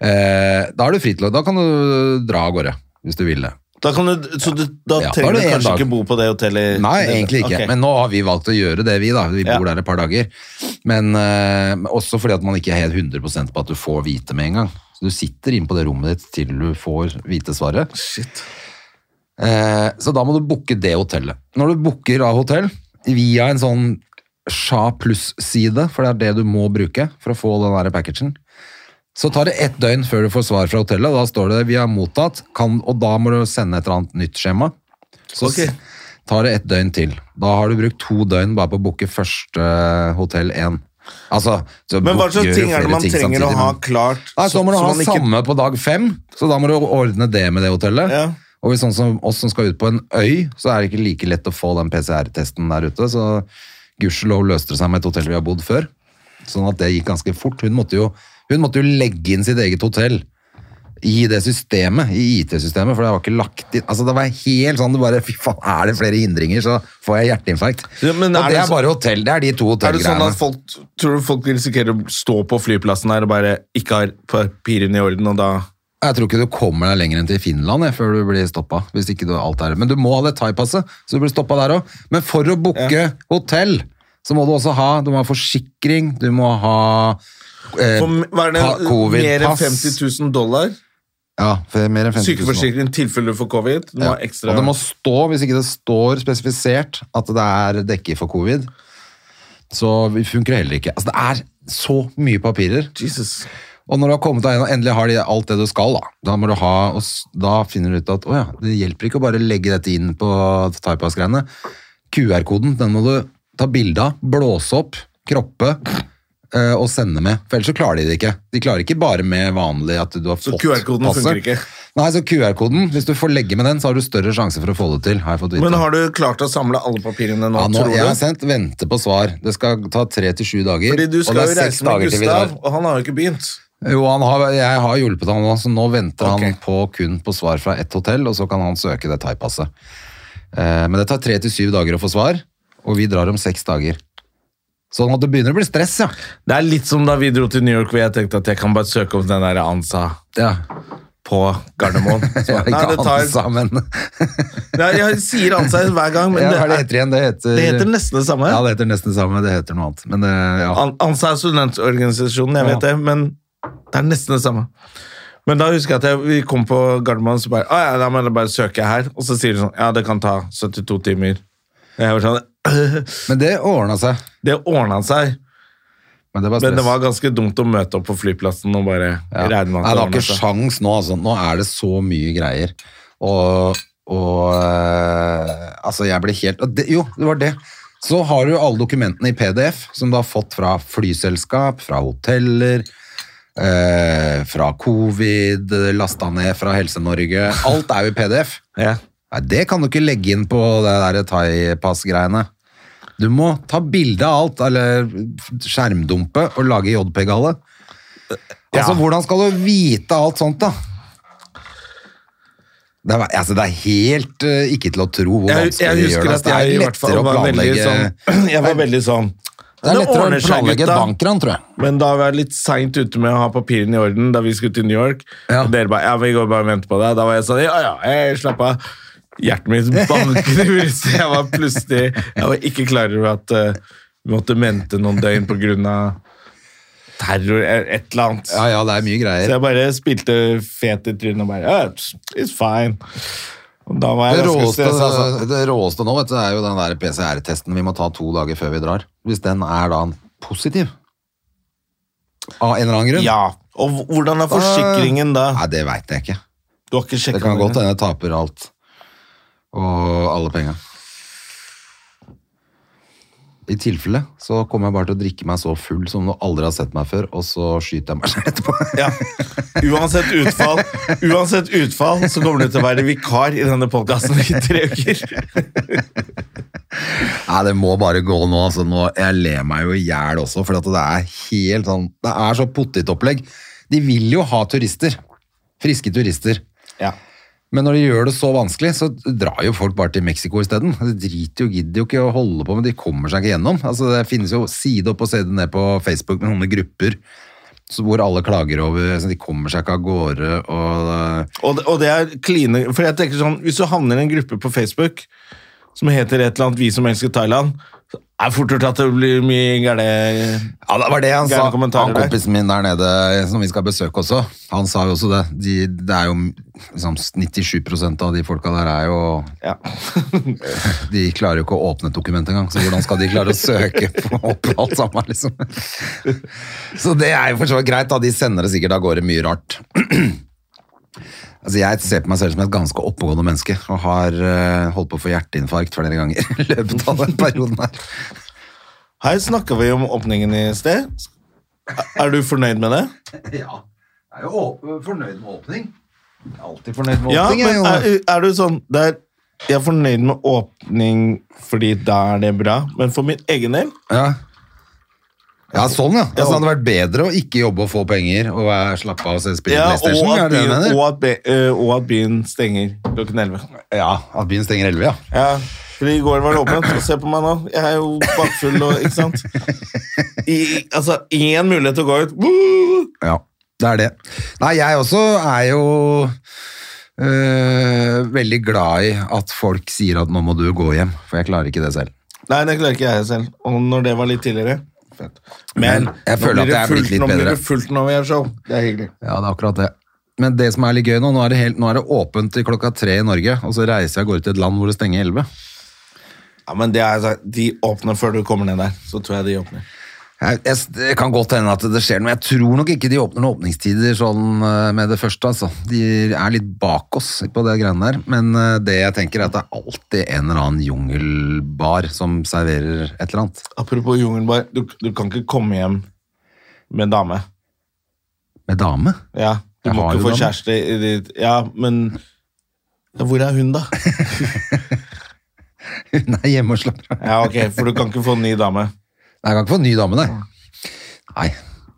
Speaker 1: Eh, da er du fri til å, da kan du dra av gårde, hvis du vil det.
Speaker 2: Da kan du, så du, da
Speaker 1: Ja, da er
Speaker 2: trenger
Speaker 1: det
Speaker 2: du
Speaker 1: en
Speaker 2: kanskje
Speaker 1: dag.
Speaker 2: ikke bo på eh, det hotellet?
Speaker 1: Nei, egentlig ikke.
Speaker 2: Ok.
Speaker 1: Men nå har vi valgt å gjøre det, vi da. Vi bor der et par dager. Men eh, men også fordi at man ikke er helt 100 på at du får vite med en gang. Så du sitter inne på det rommet ditt til du får vite svaret. Eh, så da må du booke det hotellet. Når du booker av hotell via en sånn Sja pluss-side, for det er det du må bruke for å få den der packagen, så tar det ett døgn før du får svar fra hotellet. og Da står det 'vi har mottatt', kan, og da må du sende et eller annet nytt skjema. Så
Speaker 2: Ok.
Speaker 1: tar det et døgn til. Da har du brukt to døgn bare på å booke første eh, hotell én. Altså, så
Speaker 2: Men hva
Speaker 1: booker
Speaker 2: slags
Speaker 1: jo
Speaker 2: ting er
Speaker 1: flere
Speaker 2: det man
Speaker 1: ting
Speaker 2: trenger
Speaker 1: samtidig,
Speaker 2: å ha
Speaker 1: men-
Speaker 2: klart?
Speaker 1: Nei, så må du
Speaker 2: så
Speaker 1: ha
Speaker 2: man ikke-
Speaker 1: samme på dag fem, så da må du ordne det med det hotellet.
Speaker 2: Ja.
Speaker 1: Og hvis sånn som oss som skal ut på en øy, så er det ikke like lett å få den PCR-testen der ute, så gudskjelov løste det seg med et hotell vi har bodd før. Sånn at det gikk ganske fort. Hun måtte jo, hun måtte jo legge inn sitt eget hotell i det systemet, i IT-systemet, for det var ikke lagt inn. Altså, det var helt sånn, du bare, fy faen, er det flere hindringer, så får jeg hjerteinfarkt.
Speaker 2: Ja, men
Speaker 1: og
Speaker 2: er
Speaker 1: det,
Speaker 2: det
Speaker 1: er
Speaker 2: så-
Speaker 1: bare hotell, det er de to
Speaker 2: Er det sånn
Speaker 1: hotellgreiene.
Speaker 2: at folk, tror du folk risikerer å stå på flyplassen her og bare ikke har papirene i orden, og da
Speaker 1: Jeg tror ikke du kommer deg lenger enn til Finland jeg, før du blir stoppa. Hvis ikke du alt er Men du må ha det thai-passet, så du blir stoppa der òg. Men for å booke hotell, så må du også ha Du må ha forsikring, du må ha eh,
Speaker 2: For hva er det,
Speaker 1: pa-
Speaker 2: mer enn
Speaker 1: covid-pass.
Speaker 2: 50 000 dollar?
Speaker 1: Ja, for mer enn 50 000 nå.
Speaker 2: Sykeforsikring i tilfelle du får covid? Du må
Speaker 1: Ja.
Speaker 2: ha ekstra
Speaker 1: Og det må stå, hvis ikke det står spesifisert at det er dekket for covid, så funker det heller ikke. Altså, det er så mye papirer.
Speaker 2: Jesus.
Speaker 1: Og når du har kommet deg gjennom, endelig har de alt det du skal, da. Da, må du ha, og s- da finner du ut at åja, det hjelper ikke å bare legge dette inn på Typass-greiene. QR-koden, den må du ta bilde av, blåse opp, kroppe eh, og sende med. For ellers så klarer de det ikke. De klarer ikke bare med vanlig at du har
Speaker 2: Så
Speaker 1: fått
Speaker 2: QR-koden
Speaker 1: passet.
Speaker 2: funker ikke?
Speaker 1: Nei, så QR-koden, hvis du får legge med den, så har du større sjanse for å få det til, har jeg fått vite.
Speaker 2: Men har du klart å samle alle papirene nå,
Speaker 1: ja, nå,
Speaker 2: tror
Speaker 1: jeg har
Speaker 2: du?
Speaker 1: sendt vente på svar. Det skal ta tre til sju dager.
Speaker 2: Fordi du
Speaker 1: og
Speaker 2: skal
Speaker 1: det er
Speaker 2: jo
Speaker 1: seks
Speaker 2: reise med
Speaker 1: dager til vi drar.
Speaker 2: Gustav, og han har jo ikke begynt.
Speaker 1: Jo, han har, jeg har hjulpet han nå, så nå venter han
Speaker 2: Ok.
Speaker 1: på kun på svar fra ett hotell, og så kan han søke det thai-passet. Eh, men det tar tre til syv dager å få svar, og vi drar om seks dager. Sånn at det begynner å bli stress, ja.
Speaker 2: Det er litt som da vi dro til New York, hvor jeg tenkte at jeg kan bare søke opp den der ANSA
Speaker 1: ja.
Speaker 2: på Gardermoen. Så,
Speaker 1: Jeg,
Speaker 2: nei, det tar,
Speaker 1: sammen.
Speaker 2: nei, jeg sier ANSA hver gang, men
Speaker 1: ja,
Speaker 2: det,
Speaker 1: hva er det
Speaker 2: er,
Speaker 1: heter igjen? Det heter,
Speaker 2: det heter nesten det samme.
Speaker 1: Ja, det heter nesten det samme. Det heter noe annet. Men det, ja.
Speaker 2: An- ANSA er studentorganisasjonen, jeg vet
Speaker 1: Ja.
Speaker 2: det, men det er nesten det samme. Men da husker jeg at jeg, vi kom på Gardermoen, så bare «Å ja, da må jeg bare søke her. Og så sier de sånn Ja, det kan ta 72 timer. Jeg var sånn,
Speaker 1: Men det ordna seg.
Speaker 2: Det ordna seg,
Speaker 1: Men det var stress.
Speaker 2: men det var ganske dumt å møte opp på flyplassen og bare
Speaker 1: Ja.
Speaker 2: regne med at
Speaker 1: Nei, det
Speaker 2: det
Speaker 1: har
Speaker 2: ordna
Speaker 1: ikke
Speaker 2: seg.
Speaker 1: sjans nå, altså. Nå er det så mye greier. Og, og eh, Altså, jeg ble helt og det, Jo, det var det. Så har du alle dokumentene i PDF, som du har fått fra flyselskap, fra hoteller, eh, fra covid, lasta ned fra Helse-Norge. Alt er jo i PDF.
Speaker 2: Ja.
Speaker 1: Nei, det kan du ikke legge inn på det der thaipass-greiene. Du må ta bilde av alt, eller skjermdumpe, og lage JPG-alle. Altså, hvordan skal du vite alt sånt, da? Det er, altså, det er helt eh, ikke til å tro hvor
Speaker 2: Jeg,
Speaker 1: vanskelig
Speaker 2: jeg
Speaker 1: de gjør
Speaker 2: husker
Speaker 1: altså. det.
Speaker 2: at jeg i hvert fall var veldig sånn Jeg var veldig sånn
Speaker 1: det er lettere
Speaker 2: ordner
Speaker 1: å
Speaker 2: seg,
Speaker 1: planlegge et
Speaker 2: gutta.
Speaker 1: bankran, tror jeg.
Speaker 2: Men da var jeg litt seint ute med å ha papirene i orden da vi skulle til New York.
Speaker 1: Ja.
Speaker 2: Og dere bare ja, vi går bare og venter på deg. Da var jeg sånn ja, ja, jeg slapp av. Hjertet mitt banket i brystet. Jeg var plutselig Jeg var ikke klar over at eh, vi måtte vente noen døgn pga. terror eller et eller annet.
Speaker 1: Ja, ja, det er mye
Speaker 2: Så
Speaker 1: greier.
Speaker 2: jeg bare spilte fet i trynet og bare ja, it's- It's fine. Og da var
Speaker 1: Det
Speaker 2: jeg ganske
Speaker 1: råeste,
Speaker 2: stressa. Altså.
Speaker 1: det råeste nå vet du, er jo den der PCR-testen vi må ta to dager før vi drar. Hvis den er da positiv av en eller annen grunn.
Speaker 2: Ja. Og hvordan er forsikringen da?
Speaker 1: Nei, det veit jeg ikke.
Speaker 2: Du har ikke
Speaker 1: Det
Speaker 2: sjekket
Speaker 1: kan
Speaker 2: den?
Speaker 1: godt hende jeg taper alt. Og alle penga. I tilfelle så kommer jeg bare til å drikke meg så full som du aldri har sett meg før, og så skyter jeg meg selv etterpå.
Speaker 2: Ja. Uansett utfall, uansett utfall så kommer du til å være vikar i denne podkasten i tre uker.
Speaker 1: Nei, det må bare gå nå. Altså, nå jeg ler meg jo i hjel også, for det er helt sånn Det er så pottitopplegg. De vil jo ha turister. Friske turister.
Speaker 2: Ja.
Speaker 1: Men når de gjør det så vanskelig, så drar jo folk bare til Mexico isteden. De driter jo, gidder jo ikke å holde på, men de kommer seg ikke gjennom. Altså, det finnes jo side opp og side ned på Facebook med noen grupper så hvor alle klager over så De kommer seg ikke av gårde og eh,
Speaker 2: Og det, og det er kline For jeg tenker sånn, Hvis du havner i en gruppe på Facebook som heter et eller annet 'Vi som elsker Thailand', så er det fort gjort at det blir mye gærne
Speaker 1: Ja, det var det han sa.
Speaker 2: Gærne kommentarer
Speaker 1: Han
Speaker 2: der.
Speaker 1: kompisen min der nede eh, som vi skal besøke også, han sa jo også det. De, det er jo liksom 97 av de folka der er jo
Speaker 2: ja.
Speaker 1: De klarer jo ikke å åpne et dokument engang, så hvordan skal de klare å søke på opp alt sammen, liksom? Så det er jo for så vidt greit, da. De sender det sikkert av gårde mye rart. Altså, jeg ser på meg selv som et ganske oppegående menneske, og har eh, holdt på å få hjerteinfarkt flere ganger i løpet av den perioden her.
Speaker 2: Her snakka vi om åpningen i sted. Er du fornøyd med det?
Speaker 1: Ja, jeg er jo fornøyd med åpning. Jeg er alltid fornøyd med
Speaker 2: Ja,
Speaker 1: åpning.
Speaker 2: men er, er du sånn der, Jeg er fornøyd med åpning fordi da er det bra, men for min egen del
Speaker 1: ja. ja, sånn ja. Altså, det hadde vært bedre å ikke jobbe og få penger og være- slappe av og se spille
Speaker 2: ja, og,
Speaker 1: Playstation. er
Speaker 2: at
Speaker 1: det det
Speaker 2: byen,
Speaker 1: du mener?
Speaker 2: og, at be, eh, og at byen stenger klokken 11.
Speaker 1: Ja, at byen stenger 11, ja.
Speaker 2: Ja, fordi I går var det åpent. og Se på meg nå. Jeg er jo bakfull. Og, ikke sant? I, altså, Én mulighet til å gå ut. Woo!
Speaker 1: Ja, det er det. Nei, jeg også er jo øh, veldig glad i at folk sier at nå må du gå hjem, for jeg klarer ikke det selv.
Speaker 2: Nei, det klarer ikke jeg selv. Og når det var litt tidligere fett.
Speaker 1: Men
Speaker 2: nå
Speaker 1: jeg føler
Speaker 2: blir
Speaker 1: at
Speaker 2: det
Speaker 1: jeg er blitt
Speaker 2: fullt-
Speaker 1: litt
Speaker 2: Nå blir
Speaker 1: bedre.
Speaker 2: det fullt når vi har show. Det er hyggelig.
Speaker 1: Ja, det er akkurat det. Men det som er litt gøy nå, nå er det, helt, nå er det åpent til klokka tre i Norge, og så reiser jeg av gårde til et land hvor det stenger 11.
Speaker 2: Ja, men det er, sånn, De åpner før du kommer ned der. Så tror jeg de åpner.
Speaker 1: Jeg, jeg, det kan godt hende at det skjer noe. Jeg tror nok ikke de åpner noen åpningstider sånn øh, med det første. Altså. De er litt bak oss på det greiene der. Men øh, det jeg tenker er at det er alltid en eller annen jungelbar som serverer et eller annet.
Speaker 2: Apropos jungelbar, du, du kan ikke komme hjem med en dame.
Speaker 1: Med dame?
Speaker 2: Ja, Du
Speaker 1: Jeg
Speaker 2: må
Speaker 1: har
Speaker 2: ikke
Speaker 1: jo
Speaker 2: få
Speaker 1: dame.
Speaker 2: kjæreste i ditt Ja, men ja, Hvor er hun, da?
Speaker 1: Hun er hjemme og slapper av.
Speaker 2: Ja, ok, For du kan ikke få en ny dame.
Speaker 1: Nei, Jeg kan ikke få en ny dame, nei. Nei,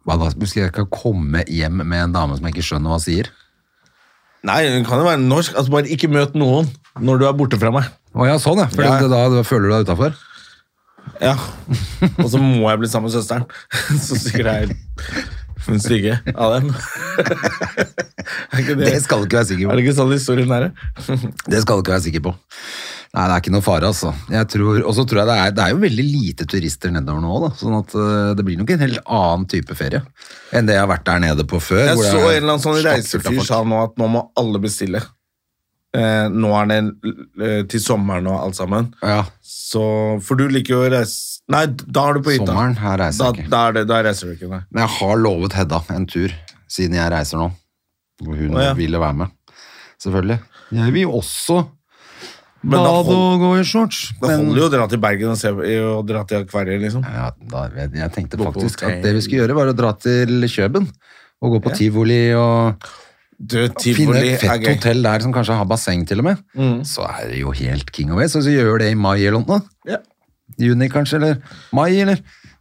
Speaker 1: hva da? Skal jeg ikke komme hjem med en dame som jeg ikke skjønner hva hun sier?
Speaker 2: Nei, hun kan jo være norsk. Altså, Bare ikke møt noen når du er borte fra meg.
Speaker 1: Å ja, sånn ja. For
Speaker 2: Ja.
Speaker 1: det- da, da føler du deg utafor?
Speaker 2: Ja. Og så må jeg bli sammen med søsteren. Så sikkert jeg er hun stygge av dem. Er ikke det?
Speaker 1: Det skal du ikke være sikker
Speaker 2: Er det
Speaker 1: på.
Speaker 2: ikke sånn historien er?
Speaker 1: Det skal du ikke være sikker på. Nei, det er ikke noe fare, altså. Jeg tror, og så tror jeg det er, det er jo veldig lite turister nedover nå, da. Sånn at øh, det blir nok en helt annen type ferie enn det jeg har vært der nede på før.
Speaker 2: Jeg
Speaker 1: hvor det
Speaker 2: så en
Speaker 1: er
Speaker 2: eller annen sånn
Speaker 1: stappfullt av
Speaker 2: reisefyr
Speaker 1: folk.
Speaker 2: sa nå at nå må alle bestille. Eh, nå er det eh, til sommeren og alt sammen.
Speaker 1: Ja,
Speaker 2: Så, for du liker jo å reise Nei, da er du på hytta.
Speaker 1: Sommeren, her reiser
Speaker 2: da,
Speaker 1: jeg ikke.
Speaker 2: da, er det, da reiser du ikke, nei.
Speaker 1: Men jeg har lovet Hedda en tur siden jeg reiser nå. Hvor hun
Speaker 2: Å, ja.
Speaker 1: ville være med. Selvfølgelig. Jeg vil også
Speaker 2: Men da
Speaker 1: bade
Speaker 2: hold-
Speaker 1: og gå i shorts.
Speaker 2: Da holder det jo å dra til Bergen og, se, og dra til akvariet, liksom.
Speaker 1: ja, da, jeg, jeg tenkte
Speaker 2: Gå på
Speaker 1: faktisk
Speaker 2: hotell.
Speaker 1: at det vi skulle gjøre, var å dra til Kjøben. Og gå på tivoli og
Speaker 2: Du,
Speaker 1: finne
Speaker 2: tivoli
Speaker 1: et
Speaker 2: er
Speaker 1: fett
Speaker 2: gøy. Mm.
Speaker 1: hotell der som kanskje har basseng, til og med. Så er det jo helt king of ways. Og så gjør det i mai eller noe.
Speaker 2: Ja.
Speaker 1: Juni kanskje, eller mai, eller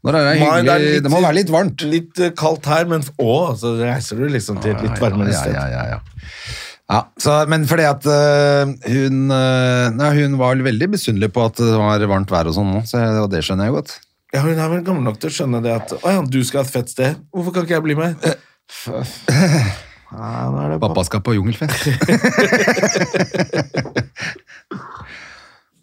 Speaker 1: når er det
Speaker 2: Mai,
Speaker 1: hyggelig?
Speaker 2: det
Speaker 1: Det,
Speaker 2: er litt-
Speaker 1: må være litt varmt.
Speaker 2: Litt eh, kaldt her, men f- å, så reiser du liksom til et litt varmere
Speaker 1: ja,
Speaker 2: sted.
Speaker 1: ja, ja, ja. Ja, så, men fordi at øh, hun, øh, nei, hun var vel veldig besundelig på at det var varmt vær og sånn nå, så jeg, og det skjønner jeg godt.
Speaker 2: Ja, Hun er vel gammel nok til å skjønne det at å ja, du skal et fett sted. Hvorfor kan ikke jeg bli med? Nei, nå er det
Speaker 1: Eh, Pappa skal på jungelfest.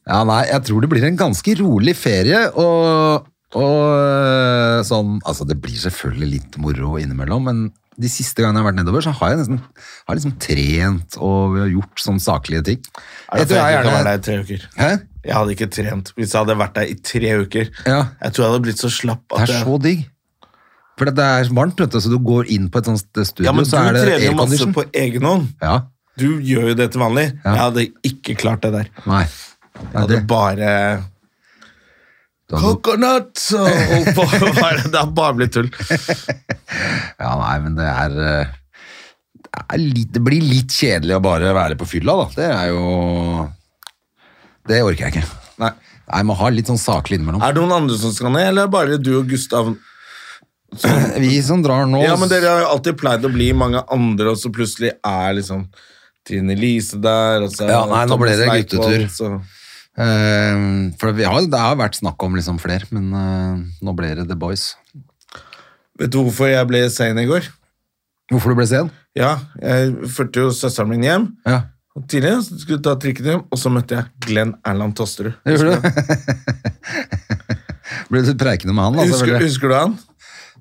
Speaker 1: ja, nei, jeg tror det blir en ganske rolig ferie, og, og øh, sånn, altså det blir selvfølgelig litt moro innimellom, men de siste gangene jeg har vært nedover, så har jeg nesten, har liksom trent og gjort sånne saklige ting.
Speaker 2: Er det
Speaker 1: tror
Speaker 2: for jeg
Speaker 1: jeg
Speaker 2: ikke
Speaker 1: gjerne-
Speaker 2: var der i tre uker.
Speaker 1: Hæ?
Speaker 2: Jeg hadde ikke trent hvis jeg hadde vært der i tre uker.
Speaker 1: Ja.
Speaker 2: Jeg tror jeg hadde blitt så slapp at
Speaker 1: Det er
Speaker 2: jeg-
Speaker 1: så digg. For det er varmt, vet du, så du går inn på et sånt studio,
Speaker 2: Ja, men du
Speaker 1: så er det
Speaker 2: trener jo masse
Speaker 1: aircondition.
Speaker 2: på egen hånd.
Speaker 1: Ja,
Speaker 2: Du gjør jo det til vanlig.
Speaker 1: Ja.
Speaker 2: Jeg hadde ikke klart det der.
Speaker 1: nei.
Speaker 2: Jeg
Speaker 1: Nei,
Speaker 2: hadde
Speaker 1: det,
Speaker 2: bare
Speaker 1: du hadde,
Speaker 2: Coconut! Og holdt på. Bare- Det har bare blitt tull.
Speaker 1: ja, nei, men det er, eh, det er litt, Det blir litt kjedelig å bare være på fylla, da. Det er jo Det orker jeg ikke.
Speaker 2: Nei.
Speaker 1: Nei, Man har litt sånn saklig innimellom.
Speaker 2: Er det noen andre som skal ned, eller er det bare du og Gustav?
Speaker 1: Vi som drar nå
Speaker 2: Ja, men Dere har jo alltid pleid å bli mange andre, og så plutselig er liksom Trine Lise der. Og så er
Speaker 1: Ja, nei, nå ble det
Speaker 2: Thomas
Speaker 1: guttetur.
Speaker 2: Eichvoll, Så.
Speaker 1: eh, For vi har, det har vært snakk om liksom flere, men eh, nå ble det The Boys.
Speaker 2: Vet du hvorfor jeg ble sein i går?
Speaker 1: Hvorfor du ble sen?
Speaker 2: Ja, Jeg førte jo søsteren min hjem
Speaker 1: Ja,
Speaker 2: og tidligere, så skulle jeg ta trikken hjem, og så møtte jeg Glenn Erland Tosterud.
Speaker 1: gjorde du? ble du preikende med han? da,
Speaker 2: Husker,
Speaker 1: selvfølgelig?
Speaker 2: husker du han?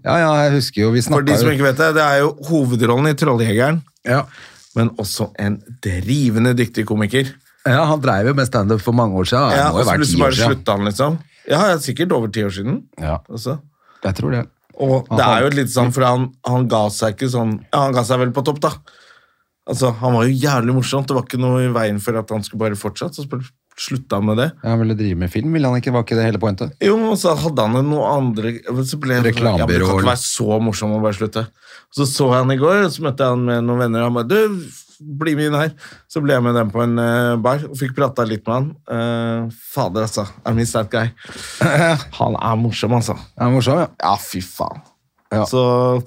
Speaker 1: Ja, ja, jeg husker jo, vi
Speaker 2: For de
Speaker 1: snakka
Speaker 2: som
Speaker 1: jo
Speaker 2: ikke vet Det det er jo hovedrollen i Trolljegeren,
Speaker 1: ja.
Speaker 2: men også en drivende dyktig komiker.
Speaker 1: ja, han dreiv jo med standup for mange år siden.
Speaker 2: Ja,
Speaker 1: det
Speaker 2: og
Speaker 1: må jo
Speaker 2: så
Speaker 1: være ti
Speaker 2: plutselig
Speaker 1: år
Speaker 2: bare
Speaker 1: siden.
Speaker 2: slutta han, liksom. Ja, ja, sikkert over ti år siden.
Speaker 1: Ja,
Speaker 2: Også.
Speaker 1: jeg tror det.
Speaker 2: Og det
Speaker 1: Han-
Speaker 2: er jo litt sånn, for han, han ga seg ikke sånn ja, Han ga seg vel på topp, da. Altså, Han var jo jævlig morsomt. Det var ikke noe i veien for at han skulle bare fortsette. Så bare slutta han med det.
Speaker 1: Ja, Han ville drive med film, ville han ikke? Var ikke det hele pointet?
Speaker 2: Jo, men så hadde han jo noe andre men så ble jeg-
Speaker 1: Reklamebyrå,
Speaker 2: Ja, men Du kan
Speaker 1: eller?
Speaker 2: ikke være så morsom og bare slutte. Så så jeg han i går, og så møtte jeg han med noen venner. Og han bare Du, bli med inn her. Så ble jeg med dem på en eh, bar og fikk prata litt med han. Eh, fader, altså. I miss that guy. Han er morsom, altså.
Speaker 1: Ja, morsom, ja.
Speaker 2: Ja, fy faen.
Speaker 1: Ja.
Speaker 2: Så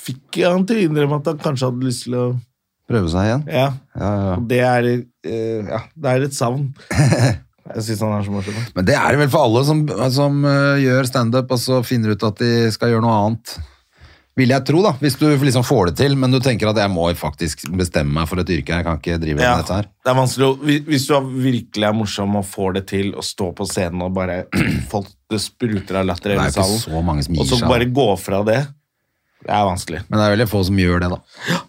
Speaker 2: fikk jeg han til å innrømme at han kanskje hadde lyst til å
Speaker 1: Prøve seg igjen.
Speaker 2: Ja.
Speaker 1: Ja, ja.
Speaker 2: Og det er, eh, ja, det er et savn. Jeg syns han er så morsom.
Speaker 1: Men det er det vel for alle som, som eh, gjør standup og så finner ut at de skal gjøre noe annet. Vil jeg tro, da. Hvis du liksom får det til, men du tenker at jeg må faktisk bestemme meg for et yrke. Jeg kan ikke drive med dette her.
Speaker 2: Det er vanskelig å, hvis- Hvis du er- virkelig er morsom og får det til å stå på scenen og bare folk, Det spruter av latter i hele
Speaker 1: Det er jo ikke
Speaker 2: salen,
Speaker 1: så mange som
Speaker 2: og
Speaker 1: gir
Speaker 2: så
Speaker 1: seg.
Speaker 2: bare gå fra det Det er vanskelig.
Speaker 1: Men det er veldig få som gjør det, da.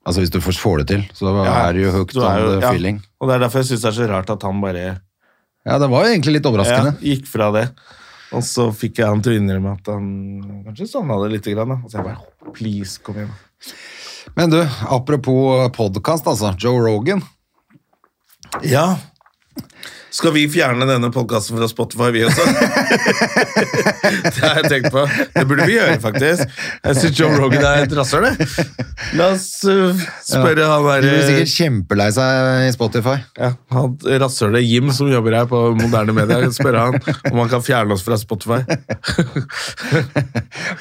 Speaker 1: Altså Hvis du først får det til, så er du jo hooked
Speaker 2: Du er
Speaker 1: on
Speaker 2: jo-
Speaker 1: the
Speaker 2: ja.
Speaker 1: feeling.
Speaker 2: Og Det er derfor jeg syns det er så rart at han bare
Speaker 1: Ja, det var jo egentlig litt
Speaker 2: ja,
Speaker 1: overraskende.
Speaker 2: gikk fra det. Og så fikk jeg han til å innrømme at han kanskje savna det lite grann. Da. Og så jeg bare Please, kom igjen.
Speaker 1: Men du, apropos podkast, altså. Joe Rogan.
Speaker 2: Ja. Skal vi fjerne denne podkasten fra Spotify, vi også? det har jeg tenkt på. Det burde vi gjøre, faktisk. Jeg syns Joe Rogan er et rasshøl, jeg. La oss øh, spørre han
Speaker 1: Du blir
Speaker 2: derre
Speaker 1: sikkert kjempelei seg i Spotify.
Speaker 2: ja, han rasshølet Jim som jobber her på moderne medier, spørre han om han kan fjerne oss fra Spotify.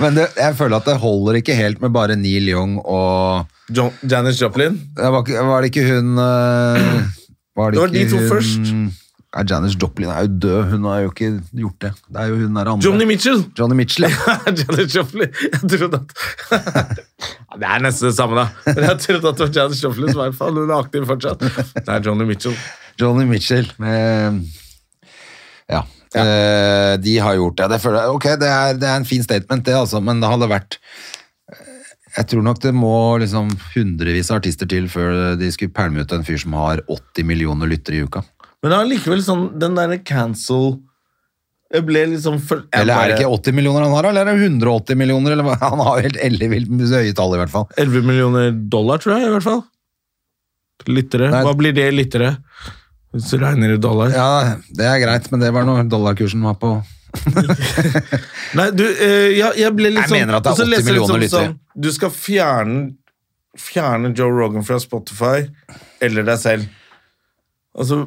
Speaker 1: Men det, jeg føler at det holder ikke helt med bare Neil Young og
Speaker 2: Jo Janis Joplin?
Speaker 1: Det var, ikke- var det ikke hun eh, Var
Speaker 2: Det var de
Speaker 1: ikke
Speaker 2: to
Speaker 1: hun-
Speaker 2: først.
Speaker 1: Ja, Janis Joplin er jo død, hun har jo ikke gjort det. Det er jo hun der andre.
Speaker 2: Johnny Mitchell!
Speaker 1: Johnny Mitchell, ja.
Speaker 2: Janis Joplin. Jeg trodde at Ja, Det er nesten det samme, da. Men jeg trodde at det var Janis Joplin som var faen, hun er aktiv fortsatt. Det er Johnny Mitchell.
Speaker 1: Johnny Mitchell. Med, ja. Eh, de har gjort det. Det, føler jeg, ok, det, er, det er en fin statement, det, altså, men det hadde vært Jeg tror nok det må liksom hundrevis av artister til før de skulle pælme ut en fyr som har 80 millioner lyttere i uka.
Speaker 2: Men det er likevel sånn, den der cancel Jeg ble liksom for, jeg
Speaker 1: Eller er det
Speaker 2: bare-
Speaker 1: ikke 80 millioner han har, eller er det 180 millioner? Eller, hva? han har jo helt ellevilt høye tall, i hvert fall.
Speaker 2: 11 millioner dollar, tror jeg, i hvert fall. Lyttere.
Speaker 1: Nei.
Speaker 2: Hva blir det i lyttere? Hvis du regner i dollar.
Speaker 1: Ja, det er greit, men det var når dollarkursen var på
Speaker 2: Nei, du, eh, ja, jeg ble litt
Speaker 1: Jeg
Speaker 2: sånn
Speaker 1: mener at det er
Speaker 2: og så
Speaker 1: 80
Speaker 2: leser jeg litt
Speaker 1: millioner
Speaker 2: sånn-
Speaker 1: lyttere.
Speaker 2: sånn, Du skal fjerne, fjerne Joe Rogan fra Spotify eller deg selv. Og så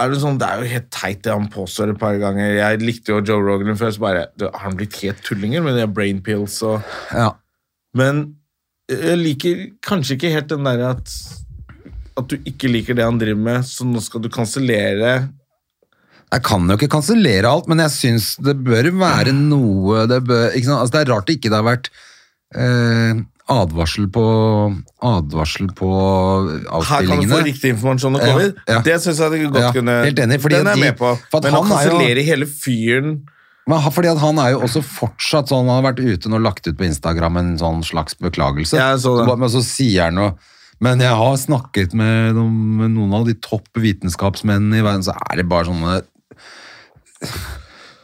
Speaker 2: er det sånn, det er jo helt teit det han påstår et par ganger. Jeg likte jo Joe Rogan før, så bare du, Har han blitt helt tullinger med de brain pills og
Speaker 1: Ja,
Speaker 2: Men jeg liker kanskje ikke helt den der at, at du ikke liker det han driver med, så nå skal du kansellere.
Speaker 1: Jeg kan jo ikke kansellere alt, men jeg syns det bør være noe Det, bør, ikke sant? Altså, det er rart det ikke har vært eh, advarsel på Advarsel på
Speaker 2: Her kan du få
Speaker 1: avspillingene.
Speaker 2: riktig informasjon om
Speaker 1: Ja,
Speaker 2: covid.
Speaker 1: ja.
Speaker 2: Det syns jeg det godt
Speaker 1: Ja,
Speaker 2: kunne
Speaker 1: helt enig, fordi
Speaker 2: Den er
Speaker 1: de-
Speaker 2: jeg med på.
Speaker 1: for at
Speaker 2: Men å
Speaker 1: han er jo-
Speaker 2: kansellere hele fyren
Speaker 1: Men ha- fordi at han er jo også fortsatt sånn, han har vært ute og lagt ut på Instagram en sånn slags beklagelse.
Speaker 2: Ja, jeg så det.
Speaker 1: bare- Men så sier han noe Men jeg har snakket med noen, med noen av de topp vitenskapsmennene i verden, så er det bare sånne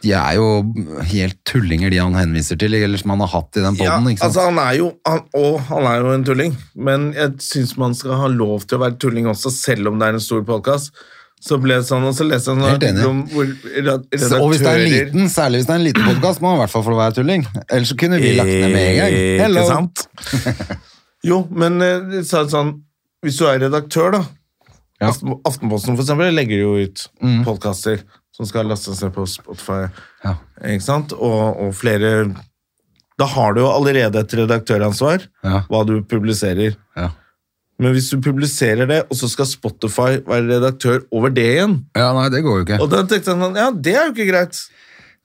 Speaker 1: De er jo helt tullinger, de han henviser til, eller som han har hatt i den
Speaker 2: ja,
Speaker 1: poden.
Speaker 2: altså han er jo han, Og han er jo en tulling, men jeg syns man skal ha lov til å være tulling også, selv om det er en stor podkast. Så ble det sånn, og så leste jeg en
Speaker 1: Helt enig.
Speaker 2: artikkel om hvor redaktører
Speaker 1: Og hvis det er en liten, særlig hvis det er en liten podkast, må han i hvert fall få være tulling. Ellers så kunne vi lagt ned med en gang. Hello.
Speaker 2: Eh, Ikke sant? jo, men eh, det sa sånn, hvis du er redaktør, da
Speaker 1: Ja.
Speaker 2: Aften-
Speaker 1: Mm.
Speaker 2: Aftenposten for eksempel legger jo ut podkaster som skal lastes ned på Spotify,
Speaker 1: Ja.
Speaker 2: ikke sant? Og, og flere Da har du jo allerede et redaktøransvar,
Speaker 1: Ja.
Speaker 2: hva du publiserer.
Speaker 1: Ja.
Speaker 2: Men hvis du publiserer det, og så skal Spotify være redaktør over det igjen
Speaker 1: ja, nei, det går jo ikke.
Speaker 2: Og da tenkte jeg sånn Ja, det er jo ikke greit.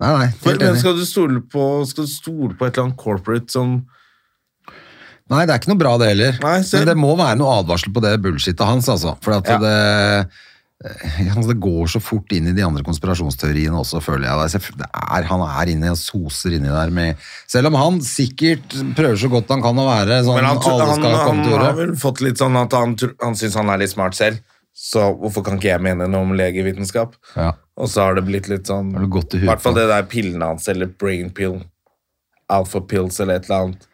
Speaker 1: Nei, nei,
Speaker 2: For,
Speaker 1: helt
Speaker 2: men
Speaker 1: enig.
Speaker 2: skal du stole på Skal du stole på et eller annet corporate som
Speaker 1: Nei, det er ikke noe bra det heller.
Speaker 2: Nei, så-
Speaker 1: Men det må være noe advarsel på det bullshitet hans, altså. For at
Speaker 2: Ja.
Speaker 1: det, eh, altså, det går så fort inn i de andre konspirasjonsteoriene også, føler jeg. Det er, selvf- det er, han er inne og soser inni der med Selv om han sikkert prøver så godt han kan å være sånn
Speaker 2: Men han, tro-
Speaker 1: alle
Speaker 2: han,
Speaker 1: skal
Speaker 2: han,
Speaker 1: komme til
Speaker 2: har
Speaker 1: ordet.
Speaker 2: vel fått litt sånn at han, tro- han syns han er litt smart selv, så hvorfor kan ikke jeg mene noe om legevitenskap?
Speaker 1: Ja.
Speaker 2: Og så har det blitt litt sånn
Speaker 1: Har du gått i
Speaker 2: I
Speaker 1: huet
Speaker 2: hvert fall
Speaker 1: på?
Speaker 2: det der pillene hans, eller brain pill, alpha pills eller et eller annet.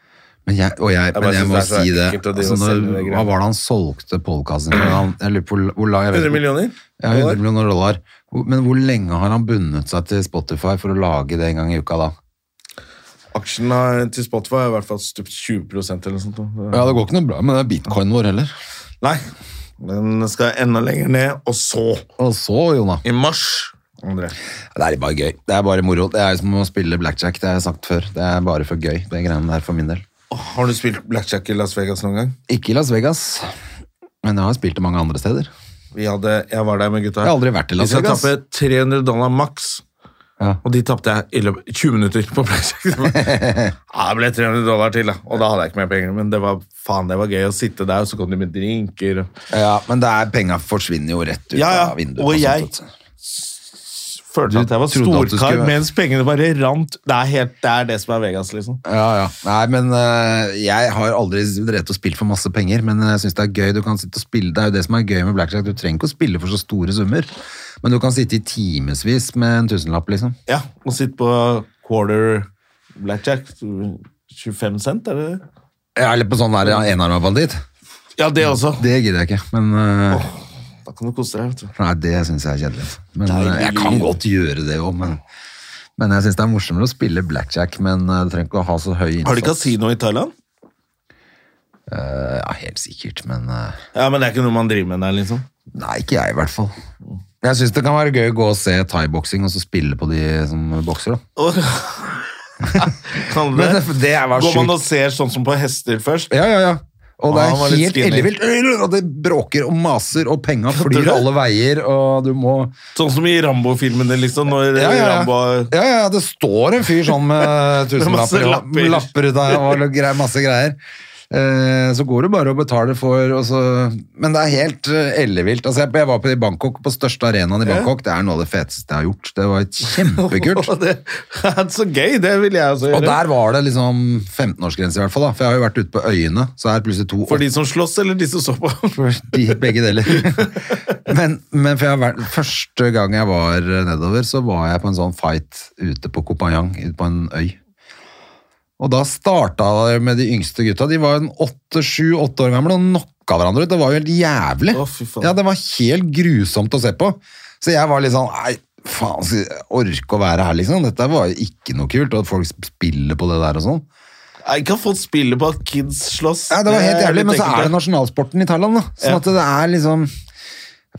Speaker 1: Men jeg, og jeg,
Speaker 2: bare
Speaker 1: men jeg
Speaker 2: synes
Speaker 1: må
Speaker 2: det er så
Speaker 1: si det.
Speaker 2: ekkelt å drive
Speaker 1: Altså,
Speaker 2: og selge
Speaker 1: når,
Speaker 2: det
Speaker 1: hva
Speaker 2: greiene.
Speaker 1: var det han solgte podkasten? Jeg lurer på hvor- hvor lang jeg vet
Speaker 2: 100 millioner?
Speaker 1: Ja, 100 millioner dollar. Hvor- Men hvor lenge har han bundet seg til Spotify for å lage det en gang i uka da?
Speaker 2: Aksjen har, til Spotify har i hvert fall stupt 20 eller noe sånt. da.
Speaker 1: Ja, det går ikke noe bra med det bitcoinen vår heller.
Speaker 2: Nei, den skal enda lenger ned. Og så,
Speaker 1: Og så, Jona.
Speaker 2: i mars André.
Speaker 1: Det er bare gøy. Det er bare moro. Det er som å spille blackjack, det har jeg sagt før. Det er bare for gøy, det greiene der for min del.
Speaker 2: Har du spilt blackjack i Las Vegas noen gang?
Speaker 1: Ikke i Las Vegas, men jeg har spilt det mange andre steder.
Speaker 2: Vi hadde, jeg var der med gutta.
Speaker 1: Jeg har aldri vært i Las
Speaker 2: Vi skal
Speaker 1: Vegas.
Speaker 2: tappe 300 dollar maks.
Speaker 1: Ja.
Speaker 2: Og de tapte jeg i løpet 20 minutter på blackjack. ja, det ble 300 dollar til, da. Og da hadde jeg ikke mer penger. Men det var, faen, det var gøy å sitte der, og så kom de med drinker. og-
Speaker 1: Ja, men det er, penga forsvinner jo rett ut
Speaker 2: Ja, ja,
Speaker 1: av vinduet.
Speaker 2: og
Speaker 1: sånt,
Speaker 2: jeg-
Speaker 1: vet du.
Speaker 2: Følte at jeg var
Speaker 1: trodde at du
Speaker 2: storkar
Speaker 1: skulle-
Speaker 2: mens pengene bare rant. Det er, helt, det er det som er Vegas, liksom.
Speaker 1: Ja, ja. Nei, men eh, jeg har aldri drevet og spilt for masse penger, men jeg syns det er gøy. Du kan sitte og spille, det er jo det som er gøy med blackjack. Du trenger ikke å spille for så store summer, men du kan sitte i timevis med en tusenlapp, liksom.
Speaker 2: Ja, og sitte på quarter blackjack. 25 cent, er det det?
Speaker 1: Ja, Eller på sånn der ja, enarma banditt.
Speaker 2: Ja, det også.
Speaker 1: Det gidder jeg ikke, men eh,
Speaker 2: Da kan du kose deg, vet du.
Speaker 1: Nei, det syns jeg er kjedelig. Men eh, jeg kan godt gjøre det òg, men men jeg syns det er morsommere å spille blackjack, men eh, du trenger ikke å ha så høy innsats.
Speaker 2: Har de kasino i Thailand?
Speaker 1: Ja, helt sikkert, men eh,
Speaker 2: Ja, men det er ikke noe man driver med der, liksom.
Speaker 1: Nei, ikke jeg i hvert fall. Jeg syns det kan være gøy å gå og se thaiboksing og så spille på de som bokser. da.
Speaker 2: Og- kan du
Speaker 1: Men
Speaker 2: det?
Speaker 1: det, det er var
Speaker 2: Går man og
Speaker 1: sjukt.
Speaker 2: ser sånn som på hester først?
Speaker 1: Ja, ja, ja. Og det
Speaker 2: Ah, han var
Speaker 1: er
Speaker 2: litt
Speaker 1: helt
Speaker 2: skinny.
Speaker 1: ellevilt. Og det bråker og maser, og penga
Speaker 2: Kødder
Speaker 1: flyr
Speaker 2: du?
Speaker 1: alle veier, og du må
Speaker 2: Sånn som i Rambo-filmene, liksom. Når
Speaker 1: ja, ja, ja.
Speaker 2: Rambo
Speaker 1: ja, ja, det står en fyr sånn med
Speaker 2: masse
Speaker 1: tusenlapper og
Speaker 2: lapper.
Speaker 1: lapper ut av og greier, masse greier. Eh, Så går du bare og betaler for og så, Men det er helt eh, ellevilt. Altså, jeg, jeg var på i Bangkok, på største arenaen i Bangkok. Det er noe av det feteste jeg har gjort. Det var kjempekult.
Speaker 2: Og det er så gøy! Det vil jeg også
Speaker 1: Og
Speaker 2: gjøre.
Speaker 1: der var det liksom 15-årsgrense i hvert fall da, for jeg har jo vært ute på øyene, så er det plutselig to
Speaker 2: For de som slåss, eller de som så på?
Speaker 1: de, begge deler. men, men for jeg har vært, første gang jeg var nedover, så var jeg på en sånn fight ute på Kopayang, ute på en øy. Og da starta det med de yngste gutta, de var en 8-7-8 år gamle og knocka hverandre ut, det var jo helt jævlig.
Speaker 2: Å, fy faen.
Speaker 1: ja, det var helt grusomt å se på. Så jeg var litt sånn, nei, faen, skal jeg orke å være her liksom, dette var jo ikke noe kult, og at folk spiller på det der og sånn.
Speaker 2: Jeg kan få spille på at kids slåss.
Speaker 1: Ja, det var helt
Speaker 2: er
Speaker 1: jævlig,
Speaker 2: litt
Speaker 1: men så
Speaker 2: ekkelt,
Speaker 1: er det
Speaker 2: ja.
Speaker 1: nasjonalsporten i Thailand, da. Sånn
Speaker 2: Ja.
Speaker 1: at det er liksom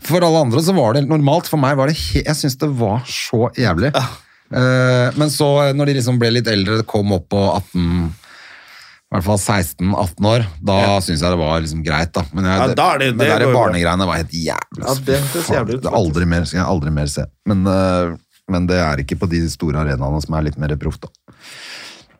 Speaker 1: For alle andre så var det helt normalt, for meg var det he Jeg syns det var så jævlig. Eh, men så, eh, når de liksom ble litt eldre, kom opp på 18 i hvert fall 16-18 år. Da syns jeg det var liksom greit, da. Men jeg,
Speaker 2: Ja, da er det-
Speaker 1: men
Speaker 2: det
Speaker 1: der
Speaker 2: går jo bra.
Speaker 1: barnegreiene var helt jævlig.
Speaker 2: Ja,
Speaker 1: ass.
Speaker 2: det høres
Speaker 1: Faen,
Speaker 2: jævlig ut,
Speaker 1: det er aldri mer, skal jeg aldri mer se. Men, eh, men det er ikke på de store arenaene som er litt mer proft, da.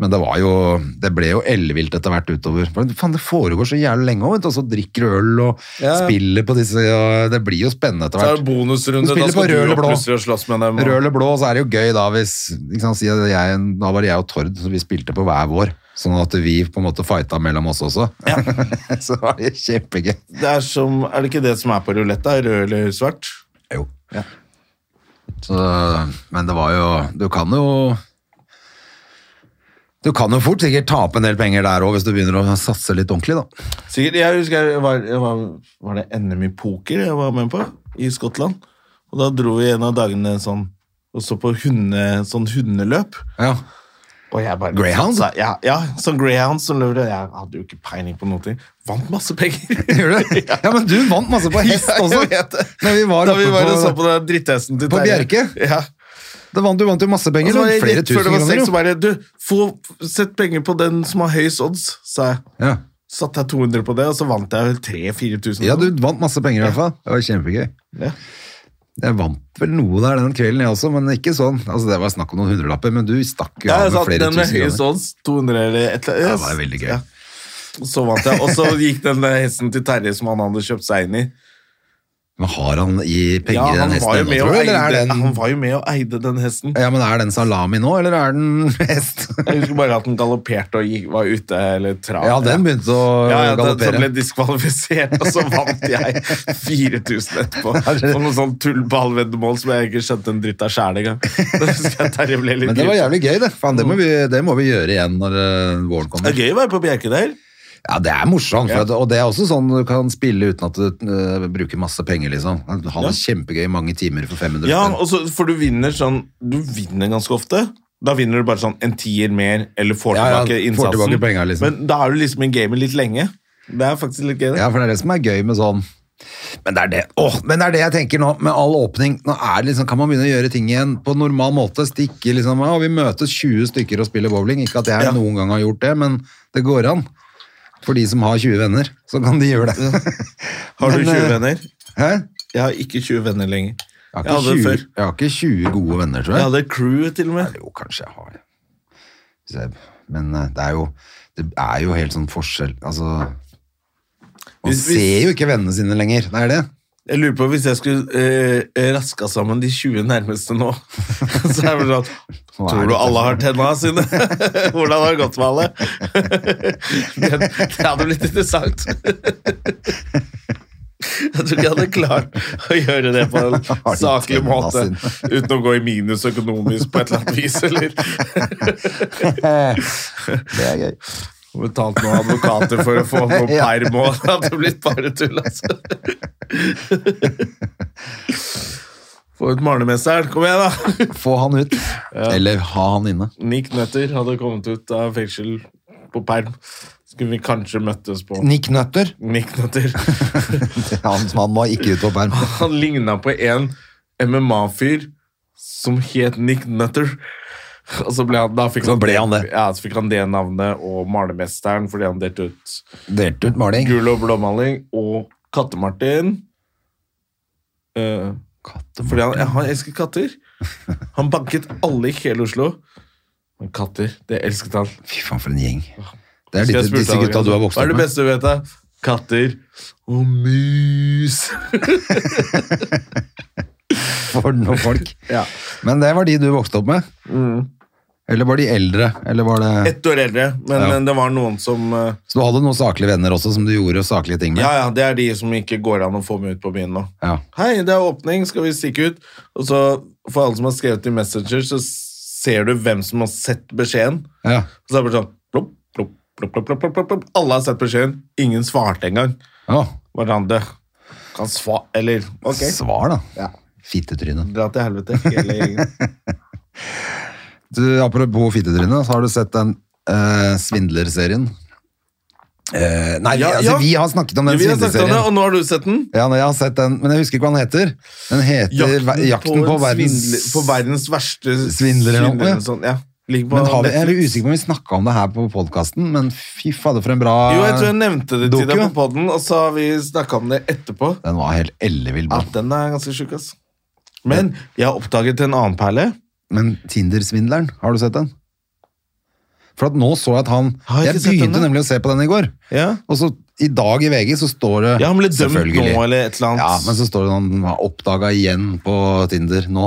Speaker 1: Men det var jo, det ble jo ellevilt etter hvert utover. Men Faen, det foregår så jævlig lenge også, vet du. Og så drikker du øl og
Speaker 2: Ja, ja.
Speaker 1: spiller på disse, og det blir jo spennende etter
Speaker 2: Så er det
Speaker 1: hvert.
Speaker 2: bonusrunde,
Speaker 1: Du
Speaker 2: da
Speaker 1: spiller
Speaker 2: skal
Speaker 1: på rød
Speaker 2: du opp
Speaker 1: eller blå.
Speaker 2: plutselig og slåss med dem. og-
Speaker 1: Rød eller blå, så er det jo gøy da hvis, ikke sant, si at jeg, da var det jeg og Tord, så vi spilte på hver vår. Sånn at vi på en måte fighta mellom oss også. så var det kjempegøy.
Speaker 2: Det er, som, er det ikke det som er på rulett, da? Rød eller svart?
Speaker 1: Jo. Så, men det var jo, du kan jo, du kan jo fort sikkert tape en del penger der også, hvis du begynner å satse litt ordentlig da.
Speaker 2: Sikkert, jeg husker jeg var, jeg var, var det NM i poker jeg var med på i Skottland. Og da dro vi en av dagene sånn og så på hunde, sånn hundeløp.
Speaker 1: Ja.
Speaker 2: Og jeg bare,
Speaker 1: Greyhound?
Speaker 2: Så, ja, ja, sånn greyhound som løper. Jeg hadde jo ikke peiling på noe. ting. Vant masse penger.
Speaker 1: Gjør du det? Ja, men du vant masse på hest
Speaker 2: Ja, jeg
Speaker 1: også.
Speaker 2: vet det.
Speaker 1: Når vi var
Speaker 2: da vi
Speaker 1: oppe
Speaker 2: var
Speaker 1: på,
Speaker 2: og så på den dritthesten til
Speaker 1: På
Speaker 2: Terje.
Speaker 1: Bjerke?
Speaker 2: Ja.
Speaker 1: Da vant, Du vant jo masse penger.
Speaker 2: Og så var jeg
Speaker 1: sånn flere
Speaker 2: rett Altså, før
Speaker 1: tusen
Speaker 2: det var seks,
Speaker 1: kroner.
Speaker 2: så bare Du, få sett penger på den som har høyest odds, sa jeg.
Speaker 1: jo. Ja.
Speaker 2: Satte jeg 200 på det, og så vant jeg vel 3000-4000.
Speaker 1: ja, du vant masse penger i hvert fall. Det var kjempegøy.
Speaker 2: Ja.
Speaker 1: Jeg vant vel noe der den kvelden, jeg også, men ikke sånn. Altså, Det var snakk om noen hundrelapper, men du stakk jo
Speaker 2: Ja,
Speaker 1: av
Speaker 2: jeg
Speaker 1: med
Speaker 2: sa
Speaker 1: flere
Speaker 2: den med
Speaker 1: tusen
Speaker 2: høyest
Speaker 1: kroner.
Speaker 2: odds, 200 eller et eller
Speaker 1: Ja,
Speaker 2: annet.
Speaker 1: det var veldig gøy.
Speaker 2: Ja. Og Så vant jeg, og så gikk den der hesten til Terje som han hadde kjøpt seg inn i.
Speaker 1: Men har han i penger i den hesten
Speaker 2: var jo
Speaker 1: ennå,
Speaker 2: med
Speaker 1: tror
Speaker 2: og
Speaker 1: du? Eller er
Speaker 2: eide- han
Speaker 1: den,
Speaker 2: var jo med og eide den hesten.
Speaker 1: ja, men er den salami nå, eller er den hest?
Speaker 2: Jeg husker bare at den galopperte og gikk, var ute eller trav.
Speaker 1: Ja, den begynte å
Speaker 2: ja, ja, den som
Speaker 1: galoppere.
Speaker 2: ble diskvalifisert, og så vant jeg 4000 etterpå.
Speaker 1: det-
Speaker 2: På noe sånn tullballveddemål som jeg ikke skjønte en dritt av sjæl engang. Da husker jeg Terje ble litt
Speaker 1: Men det var
Speaker 2: griset.
Speaker 1: jævlig gøy, det. Faen, det,
Speaker 2: Mm.
Speaker 1: må vi, det må vi gjøre igjen når eh, våren
Speaker 2: Det
Speaker 1: kommer.
Speaker 2: er gøy å være på Bjerkedal.
Speaker 1: Ja, det er morsomt, for
Speaker 2: Ja.
Speaker 1: at, og det er også sånn du kan spille uten at du eh, bruker masse penger, liksom. Ha det kjempegøy i mange timer for 500
Speaker 2: Ja,
Speaker 1: spenn.
Speaker 2: og så- for du vinner sånn Du vinner ganske ofte. Da vinner du bare sånn en tier mer, eller får
Speaker 1: Ja, ja,
Speaker 2: tilbake
Speaker 1: får
Speaker 2: innsatsen.
Speaker 1: tilbake penger, liksom.
Speaker 2: Men da er du liksom i gamet litt lenge. Det er faktisk litt gøy, det.
Speaker 1: Ja, for det er det som er gøy med sånn men det, er det. Åh, men det er det jeg tenker nå, med all åpning. Nå er det liksom, kan man begynne å gjøre ting igjen på normal måte. Stikke liksom, ja, Vi møtes 20 stykker og spiller bowling. Ikke at jeg
Speaker 2: Ja.
Speaker 1: noen gang har gjort det, men det går an. For de som har 20 venner, så kan de gjøre det.
Speaker 2: Har du
Speaker 1: Men,
Speaker 2: 20
Speaker 1: eh,
Speaker 2: venner?
Speaker 1: Hæ?
Speaker 2: Jeg har ikke 20 venner lenger.
Speaker 1: Jeg
Speaker 2: Jeg
Speaker 1: har,
Speaker 2: hadde
Speaker 1: ikke 20,
Speaker 2: før.
Speaker 1: jeg har ikke 20 gode venner, tror
Speaker 2: Jeg
Speaker 1: jeg.
Speaker 2: hadde crew, til og med.
Speaker 1: Jo, kanskje jeg har Hvis jeg- Men eh, det er jo, det er jo helt sånn forskjell. Altså, man
Speaker 2: Hvis- hvis-
Speaker 1: ser jo ikke vennene sine lenger. Det er det.
Speaker 2: Jeg lurer på hvis jeg skulle eh, raska sammen de 20 nærmeste nå. Så er det sånn
Speaker 1: Hva er
Speaker 2: Tror du
Speaker 1: dette
Speaker 2: alle
Speaker 1: for
Speaker 2: har tenna sine? Hvordan har det gått med alle? det, det hadde blitt interessant. Jeg tror ikke jeg hadde klart å gjøre det på en
Speaker 1: Har de
Speaker 2: saklig
Speaker 1: tenna
Speaker 2: måte
Speaker 1: sine?
Speaker 2: uten å gå i minus økonomisk på et eller annet vis, eller
Speaker 1: Det er gøy.
Speaker 2: Betalt noen advokater for å få noe
Speaker 1: Ja.
Speaker 2: perm og det hadde blitt bare tull, altså. Få ut malermesteren. Kom igjen, da!
Speaker 1: Få han ut. Eller ha han inne.
Speaker 2: Nick Nøtter hadde kommet ut av fengsel på perm. Skulle vi kanskje møttes på
Speaker 1: Nick Nøtter.
Speaker 2: Nick Nøtter.
Speaker 1: Han, han var ikke ute på perm.
Speaker 2: Han ligna på en MMA-fyr som het Nick Nutter. Og så ble han, da fikk
Speaker 1: Så ble han det.
Speaker 2: Ja, så fikk han det navnet og malermesteren fordi han delte ut
Speaker 1: Delte ut maling.
Speaker 2: Gul og blåmaling og Katte-Martin. Eh, fordi han, han elsker katter. Han banket alle i hele Oslo. Men katter, det elsket han.
Speaker 1: Fy faen, for en gjeng. Det er
Speaker 2: Så jeg
Speaker 1: litt,
Speaker 2: spurte
Speaker 1: disse
Speaker 2: han,
Speaker 1: gutta du har vokst
Speaker 2: Hva
Speaker 1: opp
Speaker 2: er det
Speaker 1: med.
Speaker 2: beste du vet, da? Katter og mus.
Speaker 1: For noen folk.
Speaker 2: ja. Mm.
Speaker 1: Men det var de du vokste opp med? Eller var de eldre? Eller var det...
Speaker 2: Ett år eldre, men,
Speaker 1: Ja.
Speaker 2: men det var noen som eh,
Speaker 1: Så du hadde noen saklige venner også, som du gjorde saklige ting med?
Speaker 2: Ja, ja, det er de som ikke går an å få med ut på byen nå.
Speaker 1: Ja.
Speaker 2: Hei, det er åpning, skal vi stikke ut? Og så, for alle som har skrevet i Messenger, så ser du hvem som har sett beskjeden.
Speaker 1: Ja.
Speaker 2: Og så er det bare sånn plopp, plopp, plopp, plopp, plopp, plopp, plopp, plopp. Alle har sett beskjeden. Ingen svarte engang.
Speaker 1: Å,
Speaker 2: Hverandre kan svare Eller ok,
Speaker 1: Svar, da. Fittetryne.
Speaker 2: dra til helvete. Hele gjengen.
Speaker 1: Du, apropos fittetryne, så har du sett den eh, svindlerserien? Eh, nei,
Speaker 2: Ja,
Speaker 1: altså,
Speaker 2: ja.
Speaker 1: vi har snakket om
Speaker 2: Ja,
Speaker 1: den
Speaker 2: vi har snakket om det,
Speaker 1: svindlerserien.
Speaker 2: og nå har du sett den.
Speaker 1: Ja, nei, jeg har sett den, men jeg husker ikke hva den heter. Den heter Jakten, jakten på,
Speaker 2: en
Speaker 1: verdens...
Speaker 2: svindler- på verdens verste
Speaker 1: Svindler eller noe, ja.
Speaker 2: eller sånn, ja. Ligger på
Speaker 1: Men har vi, jeg er
Speaker 2: Netflix.
Speaker 1: litt usikker på om vi snakket om det her på podcasten, men fy fader for en bra...
Speaker 2: Jo, jeg tror jeg nevnte det til
Speaker 1: Doku,
Speaker 2: deg
Speaker 1: ja.
Speaker 2: på podden, og så har vi snakka om det etterpå.
Speaker 1: Den var helt ellevill bra.
Speaker 2: At den er ganske sjuk, ass. Men jeg har oppdaget en annen perle.
Speaker 1: Men Tinder-svindleren, har du sett den? For at nå så jeg at han...
Speaker 2: Har jeg
Speaker 1: Jeg,
Speaker 2: ikke sett den,
Speaker 1: begynte
Speaker 2: da?
Speaker 1: nemlig å se på den i går.
Speaker 2: Ja.
Speaker 1: Og så i dag i VG så står det...
Speaker 2: Ja, han ble dømt nå,
Speaker 1: Selvfølgelig.
Speaker 2: eller et eller annet.
Speaker 1: Ja, men så står det han var oppdaget igjen på Tinder nå.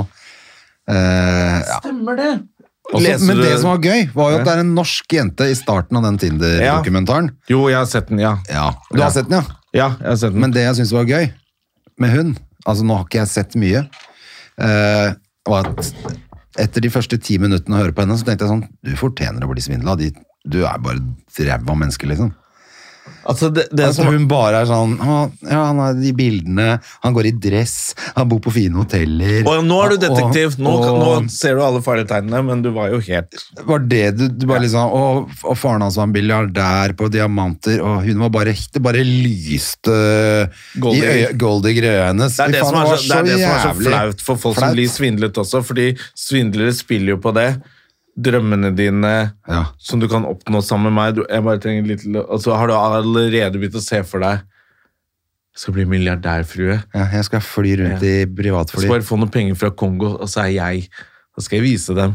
Speaker 1: Eh, ja.
Speaker 2: Stemmer det?
Speaker 1: Og så-
Speaker 2: Leser
Speaker 1: men
Speaker 2: du-
Speaker 1: det som var gøy, var jo at det er en norsk jente i starten av den Tinder-dokumentaren.
Speaker 2: Jo, jeg har sett den, ja.
Speaker 1: Ja, du har
Speaker 2: Ja.
Speaker 1: sett den, ja.
Speaker 2: Ja, jeg har sett den.
Speaker 1: Men det jeg syntes var gøy med hun, altså nå har ikke jeg sett mye, eh, var at etter de første ti minuttene å høre på henne, så tenkte jeg sånn, du fortjener å bli svindla. De, du er bare drev av mennesker, liksom.
Speaker 2: altså, det, det
Speaker 1: Altså,
Speaker 2: som
Speaker 1: hun bare er sånn, «Å, ja, han har de bildene, han går i dress, han bor på fine hoteller.
Speaker 2: og nå er du
Speaker 1: Og- og-
Speaker 2: detektiv. Nå, kan-
Speaker 1: og-
Speaker 2: nå ser du alle faretegnene, men du var jo helt
Speaker 1: var det du, du bare liksom og, og faren hans var en milliardær på diamanter, og hun var bare Det bare lyste
Speaker 2: Goldie.
Speaker 1: i øye- Goldig-greia hennes.
Speaker 2: Det er
Speaker 1: Fy
Speaker 2: det,
Speaker 1: faen,
Speaker 2: som er,
Speaker 1: var
Speaker 2: så, det er det som er så
Speaker 1: jævlig
Speaker 2: flaut for folk
Speaker 1: flaut.
Speaker 2: som blir svindlet også, fordi svindlere spiller jo på det. Drømmene dine
Speaker 1: Ja.
Speaker 2: som du kan oppnå sammen med meg. Du, jeg bare trenger litt, og så har du allerede begynt å se for deg Jeg skal bli milliardærfrue.
Speaker 1: Ja, jeg skal fly rundt i
Speaker 2: Jeg skal
Speaker 1: privatfly.
Speaker 2: bare få noen penger fra Kongo, og så er jeg Da skal jeg vise dem.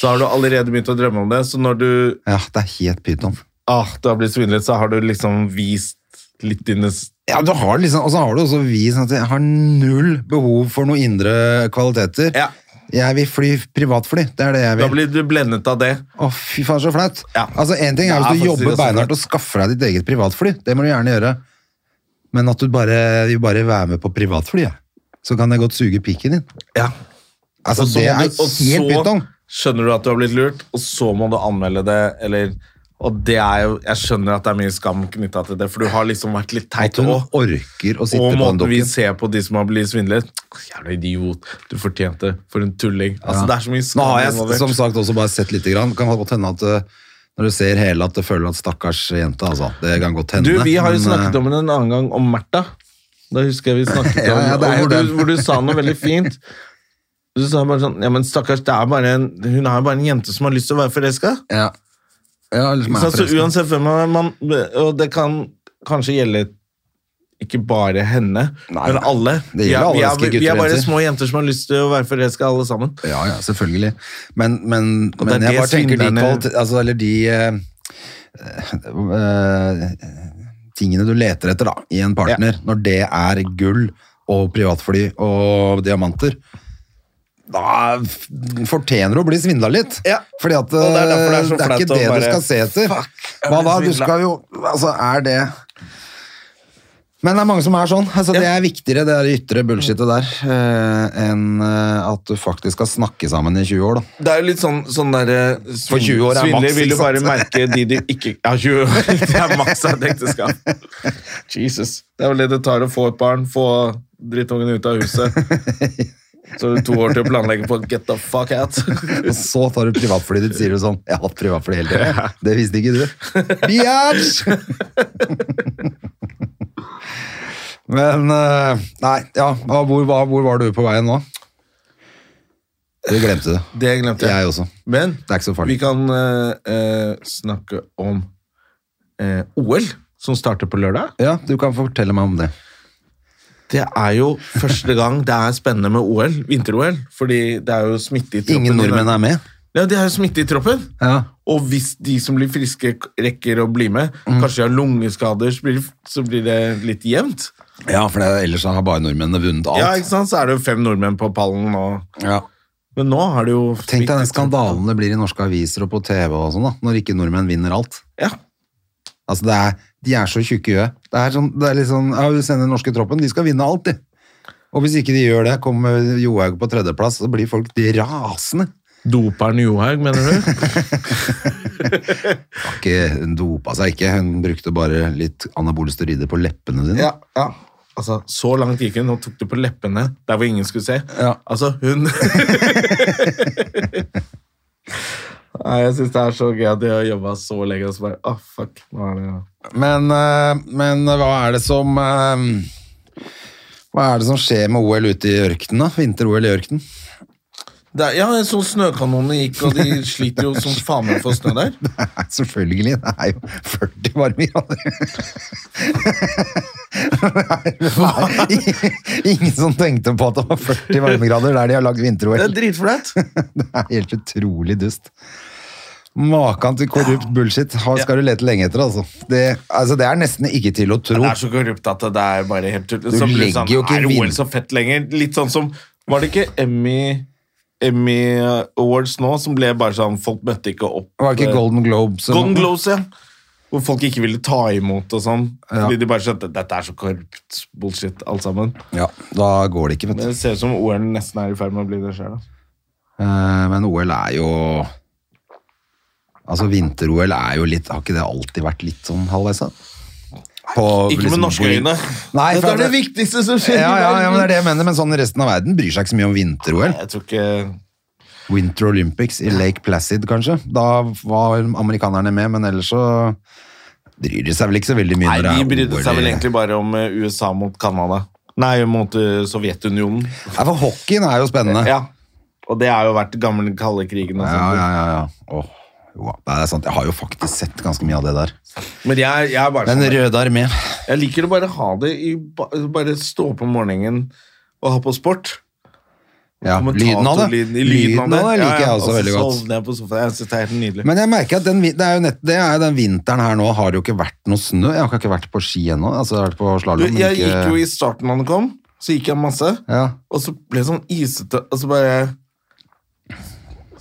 Speaker 2: Så har du allerede begynt å drømme om det, så når du
Speaker 1: Ja, det er helt pyton.
Speaker 2: ah, du har blitt svindlet, så har du liksom vist litt innes...
Speaker 1: Ja, du har det liksom, og så har du også vi sånn at jeg har null behov for noen indre kvaliteter.
Speaker 2: Ja.
Speaker 1: Jeg vil fly privatfly, det er det jeg
Speaker 2: Da
Speaker 1: vil.
Speaker 2: blir du blendet av det.
Speaker 1: Å, fy faen, så flaut.
Speaker 2: Ja.
Speaker 1: Altså, en ting er
Speaker 2: Ja,
Speaker 1: hvis du
Speaker 2: faktisk
Speaker 1: jobber
Speaker 2: det er så
Speaker 1: beinhardt
Speaker 2: flaut.
Speaker 1: og skaffer deg ditt eget privatfly, det må du gjerne gjøre. Men at du bare vil bare være med på privatfly, ja. så kan jeg godt suge pikken din.
Speaker 2: Ja.
Speaker 1: Altså,
Speaker 2: Og så
Speaker 1: det
Speaker 2: må
Speaker 1: er
Speaker 2: du- og
Speaker 1: helt
Speaker 2: så
Speaker 1: pyton.
Speaker 2: Skjønner du at du har blitt lurt, og så må du anmelde det, eller Og det er jo Jeg skjønner at det er mye skam knytta til det, for du har liksom vært litt teit
Speaker 1: At hun
Speaker 2: òg.
Speaker 1: orker å sitte
Speaker 2: Og
Speaker 1: på den
Speaker 2: måten vi
Speaker 1: dokken.
Speaker 2: ser på de som har blitt svindlet Jævla idiot. Du fortjente det. For en tulling. Altså,
Speaker 1: Ja.
Speaker 2: Det er så mye skam
Speaker 1: Nå har jeg
Speaker 2: involvert.
Speaker 1: som sagt også bare sett litt. Grann. Kan godt hende at eh, når du ser hele, at du føler at stakkars jente, altså. Det kan godt hende.
Speaker 2: Du, vi har jo
Speaker 1: men, eh,
Speaker 2: snakket om henne en annen gang, om Märtha. Da husker jeg vi snakket om
Speaker 1: Ja, ja, det er jo
Speaker 2: og hvor, du,
Speaker 1: den.
Speaker 2: hvor du sa noe veldig fint. Du sa bare sånn Ja, men stakkars, det er bare en, hun er jo bare en jente som har lyst til å være forelska.
Speaker 1: eh, ja. Ja, liksom eller som er
Speaker 2: Så altså,
Speaker 1: forresten.
Speaker 2: uansett hvem man, man Og det kan kanskje gjelde ikke bare henne, men alle.
Speaker 1: det gjelder alle
Speaker 2: vi, er,
Speaker 1: elsker
Speaker 2: vi, er, vi
Speaker 1: gutter
Speaker 2: er
Speaker 1: og
Speaker 2: bare
Speaker 1: jenter.
Speaker 2: små jenter som har lyst til å være forelska, alle sammen.
Speaker 1: Ja, ja, selvfølgelig. Men, men,
Speaker 2: Og det er
Speaker 1: men jeg
Speaker 2: det
Speaker 1: bare tenker de
Speaker 2: svindlerne-
Speaker 1: kvalit- altså, Eller de eh, eh, tingene du leter etter da, i en partner, når det er gull og privatfly og diamanter, da f- fortjener du å bli svindla litt.
Speaker 2: Ja.
Speaker 1: Fordi at
Speaker 2: Og det er
Speaker 1: eh,
Speaker 2: derfor det
Speaker 1: det
Speaker 2: er
Speaker 1: er,
Speaker 2: så flaut
Speaker 1: ikke
Speaker 2: å
Speaker 1: det du
Speaker 2: bare,
Speaker 1: skal se etter.
Speaker 2: jeg ble
Speaker 1: Hva da? Du
Speaker 2: svindlet.
Speaker 1: skal jo Altså, er det men det er mange som er sånn. Altså, Det er viktigere, det der ytre bullshitet der, eh, enn eh, at du faktisk skal snakke sammen i 20 år, da.
Speaker 2: Det er jo litt sånn, sånn derre svin-
Speaker 1: For 20 år er
Speaker 2: svindler
Speaker 1: maks,
Speaker 2: vil jo
Speaker 1: ikke
Speaker 2: bare
Speaker 1: sant?
Speaker 2: merke de de ikke Ja, 20 år det er maks av et ekteskap. Jesus. Det er vel det det tar å få et barn, få drittungen ut av huset. Så har du to år til å planlegge på get the fuck out.
Speaker 1: Og så tar du privatflyet ditt, sier du sånn. Jeg har hatt privatfly hele tida. Det visste ikke du. Biatch! Men eh, Nei, ja. hva- Hvor, hva- hvor var du på veien nå? Du glemte det.
Speaker 2: Det glemte jeg.
Speaker 1: Jeg også.
Speaker 2: Men
Speaker 1: Det er ikke så farlig.
Speaker 2: vi kan eh, eh, snakke om eh, OL, som starter på lørdag.
Speaker 1: Ja, du kan fortelle meg om det.
Speaker 2: Det er jo første gang det er spennende med OL, vinter-OL, fordi det er jo smitte i troppen.
Speaker 1: Ingen nordmenn er med?
Speaker 2: Ja, det er jo smitte i troppen.
Speaker 1: Ja.
Speaker 2: Og hvis de som blir friske, k- rekker å bli med,
Speaker 1: Mm.
Speaker 2: kanskje de har lungeskader, så blir, det- så blir det litt jevnt.
Speaker 1: ja, for det, ellers har bare nordmennene vunnet alt.
Speaker 2: Ja, ikke sant? Så er det jo fem nordmenn på pallen. Og...
Speaker 1: Ja.
Speaker 2: Men nå har det jo
Speaker 1: Tenk deg den skandalen det blir i norske aviser og på TV og sånn, da, når ikke nordmenn vinner alt.
Speaker 2: Ja.
Speaker 1: Altså, det er, de er så tjukke i huet. Det er, sånn, det er litt sånn ja, Vi sender den norske troppen, de skal vinne alt, de. Og hvis ikke de gjør det, kommer Johaug på tredjeplass, så blir folk de rasende.
Speaker 2: Doperen Johaug, mener du?
Speaker 1: Har Ikke, hun dopa seg ikke, hun brukte bare litt anabole steroider på leppene sine.
Speaker 2: ja, ja. Altså, så langt gikk hun, og tok det på leppene, der hvor ingen skulle se.
Speaker 1: Ja.
Speaker 2: Altså, hun... Nei, jeg synes det er så gøy at de har jobbet så lenge, og så bare, ah, fuck, nå er det...
Speaker 1: Men, eh, men hva er det som eh, Hva er det som skjer med OL ute i ørkenen, da? Vinter-OL i ørkenen?
Speaker 2: Det er, ja, jeg så snøkanonene gikk, og de sliter jo som faen med å få snø der.
Speaker 1: Nei, selvfølgelig. Det er jo 40 varme grader. Nei, ingen som tenkte på at det var 40 varmegrader der de har lagd
Speaker 2: Det
Speaker 1: vinter-OL.
Speaker 2: er dritflaut.
Speaker 1: Det er helt utrolig dust. Makan til korrupt bullshit har- skal du lete lenge etter, altså. Det, altså. det er nesten ikke til å tro.
Speaker 2: Det er så korrupt at det er bare helt tull.
Speaker 1: Du
Speaker 2: Så blir det
Speaker 1: legger jo ikke
Speaker 2: er
Speaker 1: vin-
Speaker 2: OL så fett lenger? Litt sånn som Var det ikke Emmy Emmy Awards nå som ble bare sånn Folk møtte ikke opp. eh,
Speaker 1: Var det ikke Golden Globes? eller
Speaker 2: Golden
Speaker 1: noe?
Speaker 2: Globes, ja. Hvor folk ikke ville ta imot og sånn.
Speaker 1: Ja.
Speaker 2: Fordi de bare skjønte dette er så korrupt bullshit, alt sammen.
Speaker 1: Ja, da går det ikke, vet du.
Speaker 2: Men det ser ut som OL nesten er i ferd med å bli det altså. sjøl.
Speaker 1: Eh, Men OL er jo Altså, vinter-OL er jo litt Har ikke det alltid vært litt sånn halvveis, da? På
Speaker 2: Ikke
Speaker 1: liksom
Speaker 2: med norske
Speaker 1: hvor-
Speaker 2: øyne.
Speaker 1: Nei, for
Speaker 2: Dette
Speaker 1: at
Speaker 2: er det viktigste som skjer. i
Speaker 1: Ja, ja, ja, men det
Speaker 2: verden.
Speaker 1: er det jeg mener. Men sånn resten av verden bryr seg ikke så mye om vinter-OL.
Speaker 2: Jeg tror ikke
Speaker 1: Winter Olympics i Lake Placid, kanskje. Da var amerikanerne med, men ellers så bryr de seg vel ikke så veldig mye
Speaker 2: Nei,
Speaker 1: når det
Speaker 2: de
Speaker 1: er
Speaker 2: brydde
Speaker 1: OL
Speaker 2: seg vel
Speaker 1: i-
Speaker 2: egentlig bare om eh, USA mot Canada. Nei, mot eh, Sovjetunionen.
Speaker 1: Nei, for hockeyen er jo spennende.
Speaker 2: Ja. Og det har jo vært gamle kalde krigen altså. og
Speaker 1: ja,
Speaker 2: sånt.
Speaker 1: ja. ja, ja. Åh, jo, da. Nei, det er sant. Jeg har jo faktisk sett ganske mye av det der.
Speaker 2: Men jeg, jeg, er bare
Speaker 1: Den
Speaker 2: sånn,
Speaker 1: røde armé.
Speaker 2: jeg liker å bare ha det i ba- Bare stå opp om morgenen og ha på sport.
Speaker 1: Ja, lyden av det.
Speaker 2: Lyden, i
Speaker 1: Lyden av det liker
Speaker 2: Ja, ja,
Speaker 1: jeg også
Speaker 2: og så
Speaker 1: veldig godt.
Speaker 2: sovner jeg på sofaen. Jeg synes det er helt nydelig.
Speaker 1: Men jeg merker at den, vi- det er jo nett, det er jo den vinteren her nå har det jo ikke vært noe snø. Jeg har ikke vært på ski ennå. Altså, jeg har vært på
Speaker 2: Du,
Speaker 1: slalåm, men
Speaker 2: jeg
Speaker 1: ikke
Speaker 2: gikk jo i starten da den kom, så gikk jeg masse,
Speaker 1: Ja.
Speaker 2: og så ble det sånn isete, og så bare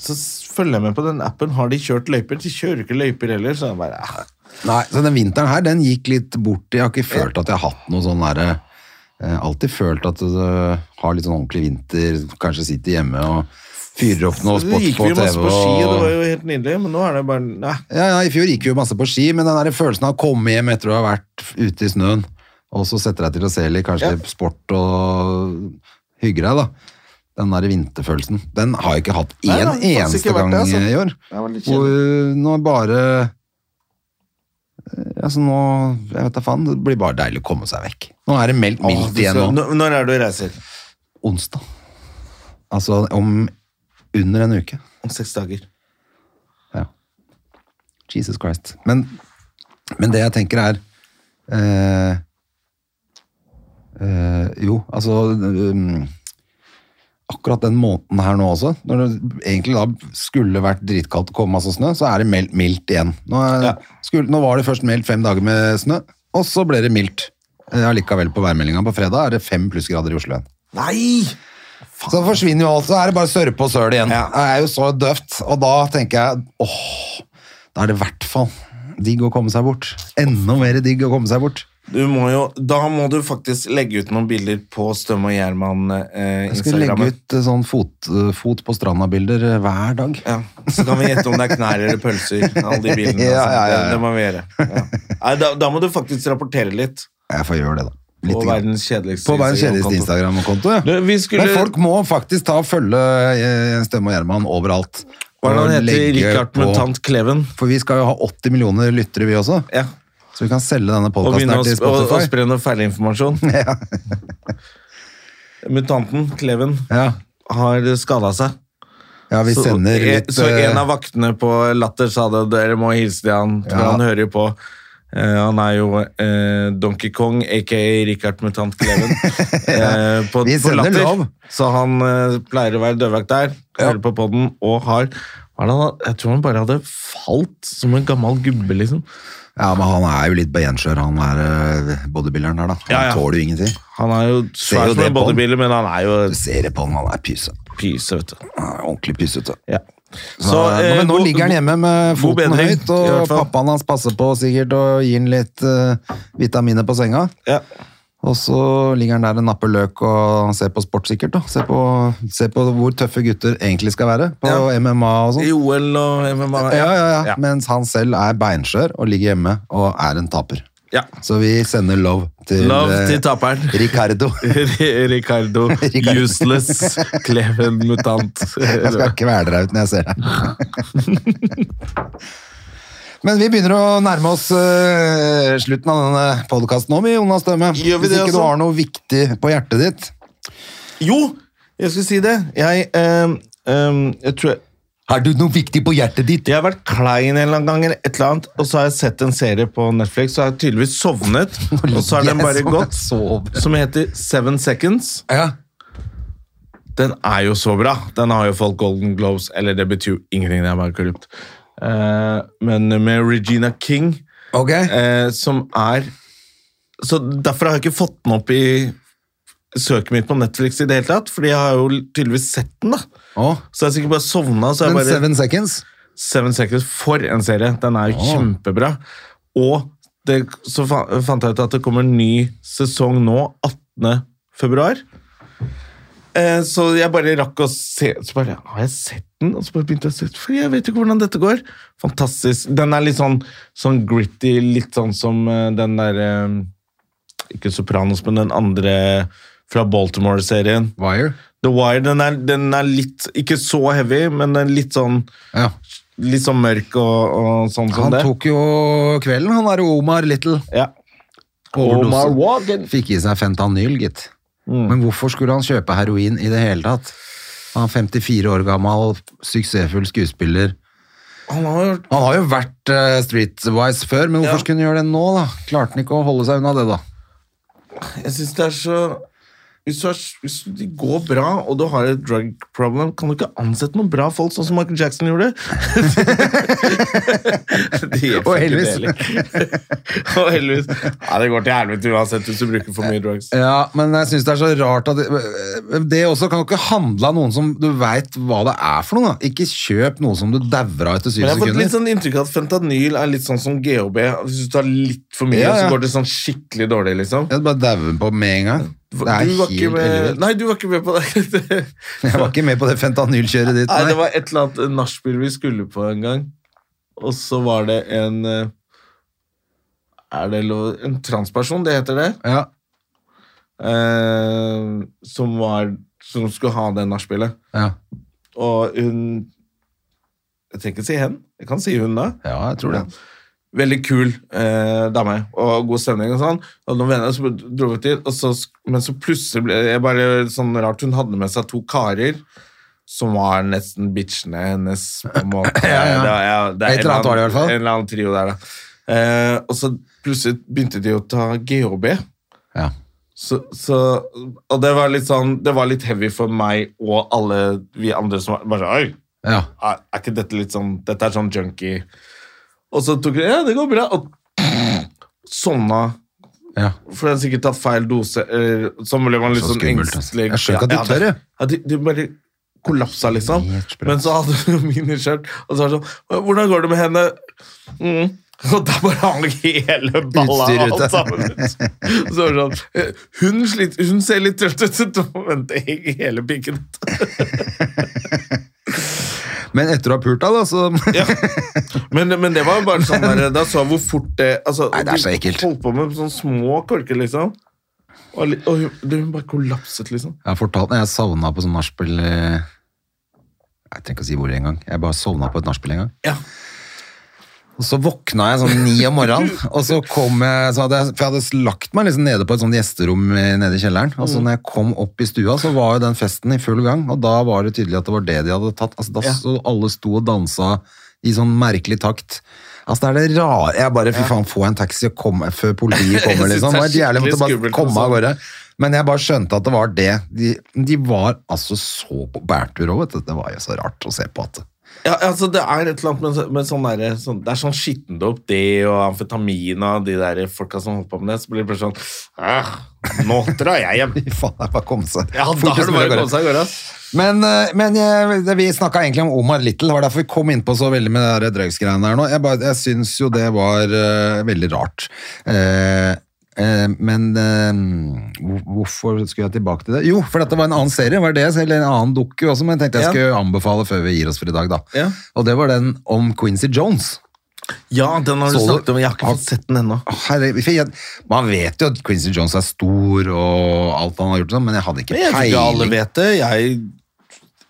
Speaker 2: Så s- følger jeg med på den appen. Har de kjørt løyper? De kjører ikke løyper heller. Så jeg bare, ah.
Speaker 1: Nei, så den vinteren her, den gikk litt bort. Jeg har ikke følt at jeg har hatt noe sånn derre eh, Alltid følt at du har litt sånn ordentlig vinter, kanskje sitter hjemme og fyrer opp noe
Speaker 2: Så
Speaker 1: sport
Speaker 2: gikk
Speaker 1: på
Speaker 2: vi jo masse
Speaker 1: TV.
Speaker 2: på ski, og det var
Speaker 1: Og...
Speaker 2: jo helt nydelig, men nå er det bare nei.
Speaker 1: Ja, ja, I fjor gikk vi jo masse på ski, men den der følelsen av å komme hjem etter å ha vært ute i snøen, og så setter deg til å se litt kanskje
Speaker 2: Ja.
Speaker 1: litt sport og hygger deg, da. Den der vinterfølelsen, den har jeg ikke hatt
Speaker 2: Nei,
Speaker 1: én
Speaker 2: det har faktisk
Speaker 1: eneste
Speaker 2: ikke vært
Speaker 1: gang
Speaker 2: det, altså.
Speaker 1: i år.
Speaker 2: Det var litt
Speaker 1: Hvor
Speaker 2: kjedelig.
Speaker 1: nå bare Altså nå, jeg vet da faen, det blir bare deilig å komme seg vekk. Nå er det meldt
Speaker 2: Åh,
Speaker 1: mildt
Speaker 2: du
Speaker 1: igjen
Speaker 2: skal-
Speaker 1: nå.
Speaker 2: Nå- Når er det du reiser?
Speaker 1: Onsdag. Altså om under en uke.
Speaker 2: Om seks dager.
Speaker 1: Ja. Jesus Christ. Men, men det jeg tenker er eh, eh, Jo, altså um, Akkurat den måneden her nå også, når det egentlig da skulle vært dritkaldt og komme masse snø, så er det meldt mildt igjen. Nå, er,
Speaker 2: Ja.
Speaker 1: skulle, nå var det først meldt fem dager med snø, og så ble det mildt. Eh, Allikevel på værmeldinga på fredag er det fem plussgrader i Oslo igjen.
Speaker 2: Nei!
Speaker 1: Så forsvinner jo alt, så er det bare sørpe og søl igjen.
Speaker 2: Ja.
Speaker 1: Det er jo så døvt. Og da tenker jeg, åh, da er det i hvert fall digg å komme seg bort. Enda mer digg å komme seg bort.
Speaker 2: Du må jo, da må du faktisk legge ut noen bilder på Støm og Gjerman eh,
Speaker 1: Jeg skal legge
Speaker 2: Instagrammet.
Speaker 1: ut eh, sånn fot, eh, fot på stranda-bilder eh, hver dag.
Speaker 2: Ja, så kan vi gjette om det er knær eller pølser. Alle de bildene.
Speaker 1: Ja,
Speaker 2: altså.
Speaker 1: ja, ja, ja.
Speaker 2: Det, det må vi gjøre. Ja. Nei, da, da må du faktisk rapportere litt.
Speaker 1: Jeg får gjøre det da. Litt
Speaker 2: På
Speaker 1: grann.
Speaker 2: verdens kjedeligste
Speaker 1: på verdens kjedeligste
Speaker 2: Instagram-konto.
Speaker 1: Instagram-konto, ja.
Speaker 2: Du, vi skulle-
Speaker 1: Men folk må faktisk ta og følge eh, Stømme og Gjerman overalt.
Speaker 2: Hva er det
Speaker 1: Og
Speaker 2: han heter?
Speaker 1: legge
Speaker 2: Richard
Speaker 1: på-
Speaker 2: Mutant Kleven.
Speaker 1: For vi skal jo ha 80 millioner lyttere vi også.
Speaker 2: Ja.
Speaker 1: Så vi kan selge denne
Speaker 2: Og
Speaker 1: podcasten
Speaker 2: begynne
Speaker 1: her
Speaker 2: å,
Speaker 1: til
Speaker 2: sp- å, å
Speaker 1: Spotify.
Speaker 2: spre noe feilinformasjon. Mutanten Kleven
Speaker 1: Ja,
Speaker 2: har skada seg.
Speaker 1: ja vi
Speaker 2: Så- e-
Speaker 1: sender litt...
Speaker 2: Så
Speaker 1: eh,
Speaker 2: en av vaktene på Latter sa det, dere må hilse til han, for
Speaker 1: Ja.
Speaker 2: han hører jo på. Eh, han er jo eh, Donkey Kong, aka Richard Mutant Kleven, eh, på,
Speaker 1: Vi
Speaker 2: på
Speaker 1: sender
Speaker 2: Latter.
Speaker 1: lov.
Speaker 2: Så han eh, pleier å være dødvakt der, hører på podden, og har hva er det han- jeg tror han bare hadde falt som en gammel gubbe, liksom.
Speaker 1: Ja, men han er jo litt benskjør, han er eh, bodybuilderen her, da. Han
Speaker 2: Ja, ja.
Speaker 1: tåler jo ingenting.
Speaker 2: Han er jo
Speaker 1: Ser
Speaker 2: svær
Speaker 1: jo
Speaker 2: som
Speaker 1: det
Speaker 2: en
Speaker 1: på han.
Speaker 2: bodybuilder, men han er jo
Speaker 1: Du ser det på han, han er pyse.
Speaker 2: pyse, vet du.
Speaker 1: Han er ordentlig pysete.
Speaker 2: Ja.
Speaker 1: Så,
Speaker 2: eh,
Speaker 1: men nå
Speaker 2: god-
Speaker 1: ligger han hjemme
Speaker 2: god
Speaker 1: med foten
Speaker 2: bedring,
Speaker 1: høyt,
Speaker 2: i
Speaker 1: og
Speaker 2: hvert fall.
Speaker 1: pappaen hans passer på sikkert og gir han litt eh, vitaminer på senga.
Speaker 2: Ja.
Speaker 1: Og så ligger han der og napper løk og ser på sport, sikkert. da. Ser på, ser på hvor tøffe gutter egentlig skal være, på
Speaker 2: Ja.
Speaker 1: MMA og sånn.
Speaker 2: I OL og MMA.
Speaker 1: Ja, ja, ja, Mens han selv er beinskjør og ligger hjemme og er en taper.
Speaker 2: Ja.
Speaker 1: Så vi sender love til,
Speaker 2: Love
Speaker 1: eh,
Speaker 2: til taperen.
Speaker 1: Ricardo.
Speaker 2: Ricardo,
Speaker 1: Ricardo.
Speaker 2: useless, kleven mutant.
Speaker 1: Jeg skal kvele deg ut når jeg ser deg. Men vi begynner å nærme oss eh, slutten av denne podkasten nå, vi, Jonas Dømme.
Speaker 2: Gjør vi
Speaker 1: Hvis
Speaker 2: det,
Speaker 1: ikke du
Speaker 2: altså?
Speaker 1: har noe viktig på hjertet ditt.
Speaker 2: Jo, jeg skulle si det. Jeg, ehm, ehm, jeg tror jeg,
Speaker 1: Har du noe viktig på hjertet ditt?
Speaker 2: jeg har vært klein en eller annen gang, eller et eller annet, og så har jeg sett en serie på Netflix, og har jeg tydeligvis sovnet, og så har den bare gått, som heter Seven Seconds.
Speaker 1: Ja.
Speaker 2: Den er jo så bra. Den har jo fått Golden Globes, eller det betyr jo ingenting, det er bare korrupt. Eh, men med Regina King,
Speaker 1: Ok.
Speaker 2: eh, som er Så derfor har jeg ikke fått den opp i søket mitt på Netflix i det hele tatt, fordi jeg har jo tydeligvis sett den, da.
Speaker 1: Å,
Speaker 2: Så jeg er sikkert bare sovna. Så jeg
Speaker 1: men
Speaker 2: bare, seven.
Speaker 1: Seven Seconds?
Speaker 2: Seconds, for en serie! Den er jo kjempebra. Og det, så fa fant jeg ut at det kommer en ny sesong nå, 18. februar. Eh, så jeg bare rakk å se Så bare, har jeg sett den? Og så bare begynte jeg å se For jeg vet ikke hvordan dette går. Fantastisk. Den er litt sånn, sånn gritty, litt sånn som eh, den derre Ikke Sopranos, men den andre fra Baltimore-serien.
Speaker 1: Wire?
Speaker 2: The Wire den er, den er litt Ikke så heavy, men den er litt sånn
Speaker 1: Ja.
Speaker 2: Litt sånn mørk og, og sånn som
Speaker 1: Han
Speaker 2: det.
Speaker 1: tok jo kvelden, han er jo Omar Little.
Speaker 2: ja.
Speaker 1: Overdose.
Speaker 2: Omar Wagen.
Speaker 1: Fikk i seg fentanyl, gitt.
Speaker 2: Mm.
Speaker 1: Men hvorfor skulle han kjøpe heroin i det hele tatt? Han er 54 år gammel, suksessfull skuespiller.
Speaker 2: Han har
Speaker 1: Han har jo vært eh, streetwise før, men hvorfor
Speaker 2: Ja.
Speaker 1: skulle han gjøre det nå, da? Klarte han ikke å holde seg unna det, da?
Speaker 2: Jeg syns det er så Hvis, du har, hvis de går bra, og du har et drug problem, kan du ikke ansette noen bra folk, sånn som Michael Jackson gjorde? De gjør
Speaker 1: Og
Speaker 2: ikke det
Speaker 1: Elvis.
Speaker 2: heller. og Elvis. Ja, det går til helvete uansett hvis du bruker for mye drugs.
Speaker 1: Ja, men jeg synes det er så rart at det, det også kan jo ikke handle av noen som du vet hva det er for noe. da. Ikke kjøp noe som du dauer av etter syv
Speaker 2: Men jeg har fått
Speaker 1: sekunder.
Speaker 2: litt sånn inntrykk av at fentanyl er litt sånn som GHB. Hvis du tar litt for mye,
Speaker 1: Ja, ja.
Speaker 2: så går det sånn skikkelig dårlig, liksom.
Speaker 1: Jeg bare dauer på med en gang.
Speaker 2: Du
Speaker 1: Det
Speaker 2: var
Speaker 1: er
Speaker 2: ikke
Speaker 1: helt
Speaker 2: med...
Speaker 1: ellevilt.
Speaker 2: Nei, du var ikke med på det.
Speaker 1: Jeg var ikke med på det fentanylkjøret ditt.
Speaker 2: Nei, det
Speaker 1: Nei.
Speaker 2: var et eller annet nachspiel vi skulle på en gang. Og så var det en eh, Er det lov En transperson, det heter det.
Speaker 1: Ja.
Speaker 2: Eh, som var Som skulle ha det nachspielet.
Speaker 1: Ja.
Speaker 2: Og hun Jeg trenger ikke si hen. Jeg kan si hun, da.
Speaker 1: ja, jeg tror det.
Speaker 2: Veldig kul eh, dame og god stemning og sånn. Og noen venner så dro vi dit, og så, men så plutselig ble det bare sånn rart. Hun hadde med seg to karer som var nesten bitchene hennes, på en måte.
Speaker 1: Ja, ja.
Speaker 2: Det var- ja, det er
Speaker 1: Et eller annet var det i hvert fall.
Speaker 2: En eller annen trio der, da. Eh, og så plutselig begynte de å ta GHB.
Speaker 1: Ja.
Speaker 2: Så, så, og det var litt sånn Det var litt heavy for meg og alle vi andre som var bare sånn, Oi,
Speaker 1: Ja.
Speaker 2: er, er ikke dette litt sånn Dette er sånn junkie. Og så tok hun Ja, det går bra. Og sovna.
Speaker 1: Ja.
Speaker 2: For hun har sikkert tatt feil dose. eller- Så ble man litt
Speaker 1: Så
Speaker 2: sånn
Speaker 1: skummelt, altså.
Speaker 2: engstelig.
Speaker 1: Jeg skjønner ikke at de
Speaker 2: Ja, ja,
Speaker 1: tør, jeg.
Speaker 2: Ja, de, de bare kollapsa, liksom.
Speaker 1: Helt sprøtt.
Speaker 2: Men så hadde hun miniskjørt, og så var det sånn Hvordan går det med henne? Mm. Og der bare hang hele balla
Speaker 1: Utstyr ute.
Speaker 2: alt sammen ut. Så var det sånn, eh, hun, slit, hun ser litt trøtt ut, så da venter jeg hele pikken ut.
Speaker 1: Men etter å ha pult deg, da, så
Speaker 2: Ja. Men, men det var jo bare sånn der, da så jeg hvor fort det altså,
Speaker 1: Nei, det er så ekkelt.
Speaker 2: De holdt på med sånne små korker, liksom. Og, li- og hun, det, hun bare kollapset, liksom.
Speaker 1: Jeg har fortalt Jeg sovna på sånn nachspiel eh, Jeg trenger ikke å si hvor engang. Jeg bare sovna på et nachspiel en gang.
Speaker 2: Ja.
Speaker 1: Og så våkna jeg sånn ni om morgenen, og så kom jeg, så hadde jeg For jeg hadde lagt meg liksom nede på et sånt gjesterom eh, nede i kjelleren. Og
Speaker 2: Mm.
Speaker 1: så når jeg kom opp i stua, så var jo den festen i full gang, og da var det tydelig at det var det de hadde tatt. Altså, da
Speaker 2: Ja.
Speaker 1: så alle sto og dansa i sånn merkelig takt. Altså, det er det rare Jeg bare Fy faen, få en taxi og kom, før politiet kommer,
Speaker 2: Jeg synes
Speaker 1: liksom.
Speaker 2: det er
Speaker 1: Det var helt jævlig, jeg måtte
Speaker 2: skikkelig
Speaker 1: bare
Speaker 2: skummelt
Speaker 1: komme
Speaker 2: med
Speaker 1: av
Speaker 2: sånn.
Speaker 1: gårde. Men jeg bare skjønte at det var det. De, de var altså så på bærtur òg, vet du. Det var jo så rart å se på at
Speaker 2: Ja, altså Det er et eller annet med, så- med sånn derre- sånn, Det er sånn skittendop, det og amfetamin og de der folka som holder på med det. Så blir det bare sånn «Æh, Nå drar jeg hjem!
Speaker 1: Fy faen, det er bare å komme seg
Speaker 2: Ja, da
Speaker 1: fortest
Speaker 2: har det
Speaker 1: mulig
Speaker 2: bare
Speaker 1: av gårde.
Speaker 2: kommet seg av gårde. ass.
Speaker 1: Men, eh, men jeg, det- vi snakka egentlig om Omar Little, det var derfor vi kom innpå så veldig med det der drugsgreiene her nå. Jeg, bare- jeg syns jo det var eh, veldig rart. Eh, eh, men eh, hvor- hvorfor skulle jeg tilbake til det? Jo, for dette var en annen serie, var det, det, eller en annen dukke også, men jeg tenkte jeg
Speaker 2: Ja.
Speaker 1: skulle anbefale før vi gir oss for i dag, da.
Speaker 2: Ja.
Speaker 1: Og det var den om Quincy Jones.
Speaker 2: Ja, den har du
Speaker 1: Så du-
Speaker 2: snakket om. Jeg har ikke fått sett den ennå.
Speaker 1: Herre, for jeg, man vet jo at Quincy Jones er stor og alt han har gjort, og sånn, men jeg hadde ikke
Speaker 2: Men jeg tror
Speaker 1: peiling.
Speaker 2: ikke alle vet det. Jeg,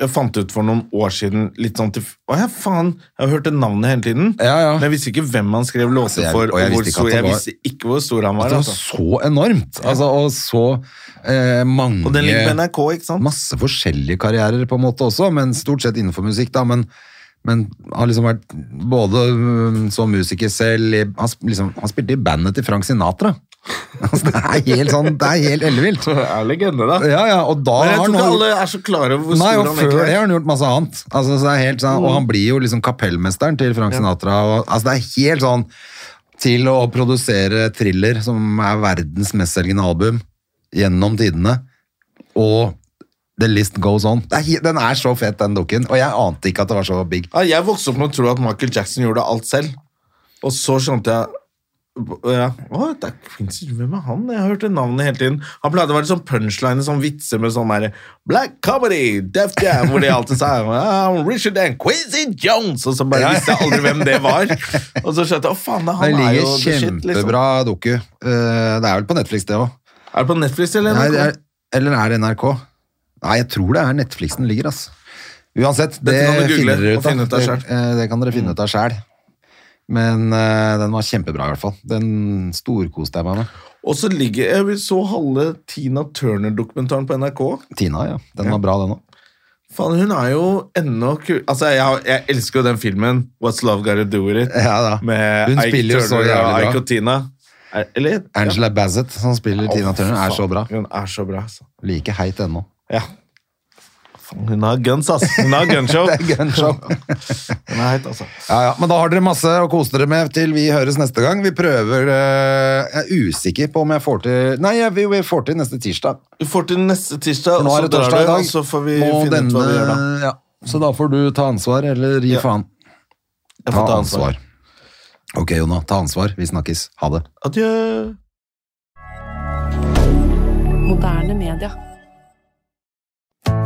Speaker 2: jeg fant ut for noen år siden litt sånn til Å ja, faen! Jeg har hørt det navnet hele tiden.
Speaker 1: Ja, ja.
Speaker 2: Men jeg visste ikke hvem han skrev
Speaker 1: Altså,
Speaker 2: låter
Speaker 1: jeg-
Speaker 2: for,
Speaker 1: og
Speaker 2: og
Speaker 1: jeg
Speaker 2: hvor
Speaker 1: visste ikke
Speaker 2: stor
Speaker 1: at det
Speaker 2: Jeg
Speaker 1: var-
Speaker 2: visste ikke hvor stor han var.
Speaker 1: det var
Speaker 2: Altså.
Speaker 1: så enormt, altså, og så eh, mange
Speaker 2: Og den ligger på NRK, ikke sant?
Speaker 1: masse forskjellige karrierer på en måte også, men stort sett innenfor musikk da, men, men har liksom vært både mm, som musiker selv, i- han, sp- liksom, han spilte i bandet til Frank Sinatra. Altså, det er helt sånn, det er helt ellevilt.
Speaker 2: Det er legende, da.
Speaker 1: Ja, ja, og da
Speaker 2: Men jeg
Speaker 1: har
Speaker 2: tror
Speaker 1: han
Speaker 2: ikke
Speaker 1: holdt-
Speaker 2: alle er så klare over hvor
Speaker 1: Nei,
Speaker 2: stor
Speaker 1: og
Speaker 2: han
Speaker 1: før
Speaker 2: egentlig
Speaker 1: det har
Speaker 2: er.
Speaker 1: han gjort masse annet. Altså, så det er helt
Speaker 2: Mm.
Speaker 1: sånn, og han blir jo liksom kapellmesteren til Frank Sinatra. Og, altså, det er helt sånn til å produsere thriller, som er verdens mestselgende album gjennom tidene, og The List Goes On. Det er, he- den er så fet, den dukken. Og jeg ante ikke at det var så big.
Speaker 2: Ja, jeg vokste opp med å tro at Michael Jackson gjorde alt selv. Og så skjønte jeg ja. Å, det er Quincy, Hvem er han? Jeg har hørt det navnet hele tiden. Han pleide å være sånn punchline, sånn vitser med sånn derre Black comedy, Def Jam, hvor de alltid sa «Ah, Richard and Quincy Jones, og så bare visste jeg aldri hvem det var. Og så skjønte jeg å faen, da,
Speaker 1: Det
Speaker 2: han er jo
Speaker 1: ligger
Speaker 2: the shit, liksom.
Speaker 1: kjempebra dukke. det er vel på Netflix, det òg.
Speaker 2: Er det på Netflix eller
Speaker 1: Nei, det
Speaker 2: noe?
Speaker 1: er, eller er det NRK? Nei, jeg tror det er Netflix den ligger, ass. Uansett, det
Speaker 2: Dette kan du google
Speaker 1: finner dere ut
Speaker 2: og finne ut av
Speaker 1: Det-
Speaker 2: selv.
Speaker 1: eh, Det kan dere finne ut av sjæl. Men eh, den var kjempebra, i hvert fall. Den storkoste jeg meg med.
Speaker 2: Og så ligger Jeg så halve Tina Turner-dokumentaren på NRK.
Speaker 1: Tina, ja. Den var bra, den òg.
Speaker 2: Faen, hun er jo enda kul Altså, jeg, jeg elsker jo den filmen What's Love Gotta Do With It
Speaker 1: Ja, da.
Speaker 2: Med
Speaker 1: Hun
Speaker 2: Ike
Speaker 1: spiller jo så
Speaker 2: Turner og
Speaker 1: jævlig bra.
Speaker 2: Ike og Tina Er- Eller?
Speaker 1: Angela Bassett, som spiller Tina Turner, er så bra.
Speaker 2: Hun er så bra, altså.
Speaker 1: Like heit ennå.
Speaker 2: Ja. Faen, Hun har guns, ass. Hun har gunshow.
Speaker 1: Det er gunshow.
Speaker 2: Hun er heit, altså.
Speaker 1: Ja, ja, Men da har dere masse å kose dere med til vi høres neste gang. Vi prøver eh, Jeg er usikker på om jeg får til Nei, jeg, vi, vi får til neste tirsdag.
Speaker 2: Vi får til neste tirsdag,
Speaker 1: For
Speaker 2: og
Speaker 1: nå
Speaker 2: så
Speaker 1: er det
Speaker 2: drar
Speaker 1: torsdag i
Speaker 2: du,
Speaker 1: dag.
Speaker 2: og så får vi
Speaker 1: Må
Speaker 2: finne ut hva vi gjør da.
Speaker 1: Ja. Så da får du ta ansvar, eller gi
Speaker 2: Ja.
Speaker 1: faen.
Speaker 2: Jeg får ta ansvar.
Speaker 1: Ok, Jonna. Ta ansvar. Vi snakkes. Ha det.
Speaker 2: Adjø.
Speaker 3: Moderne media.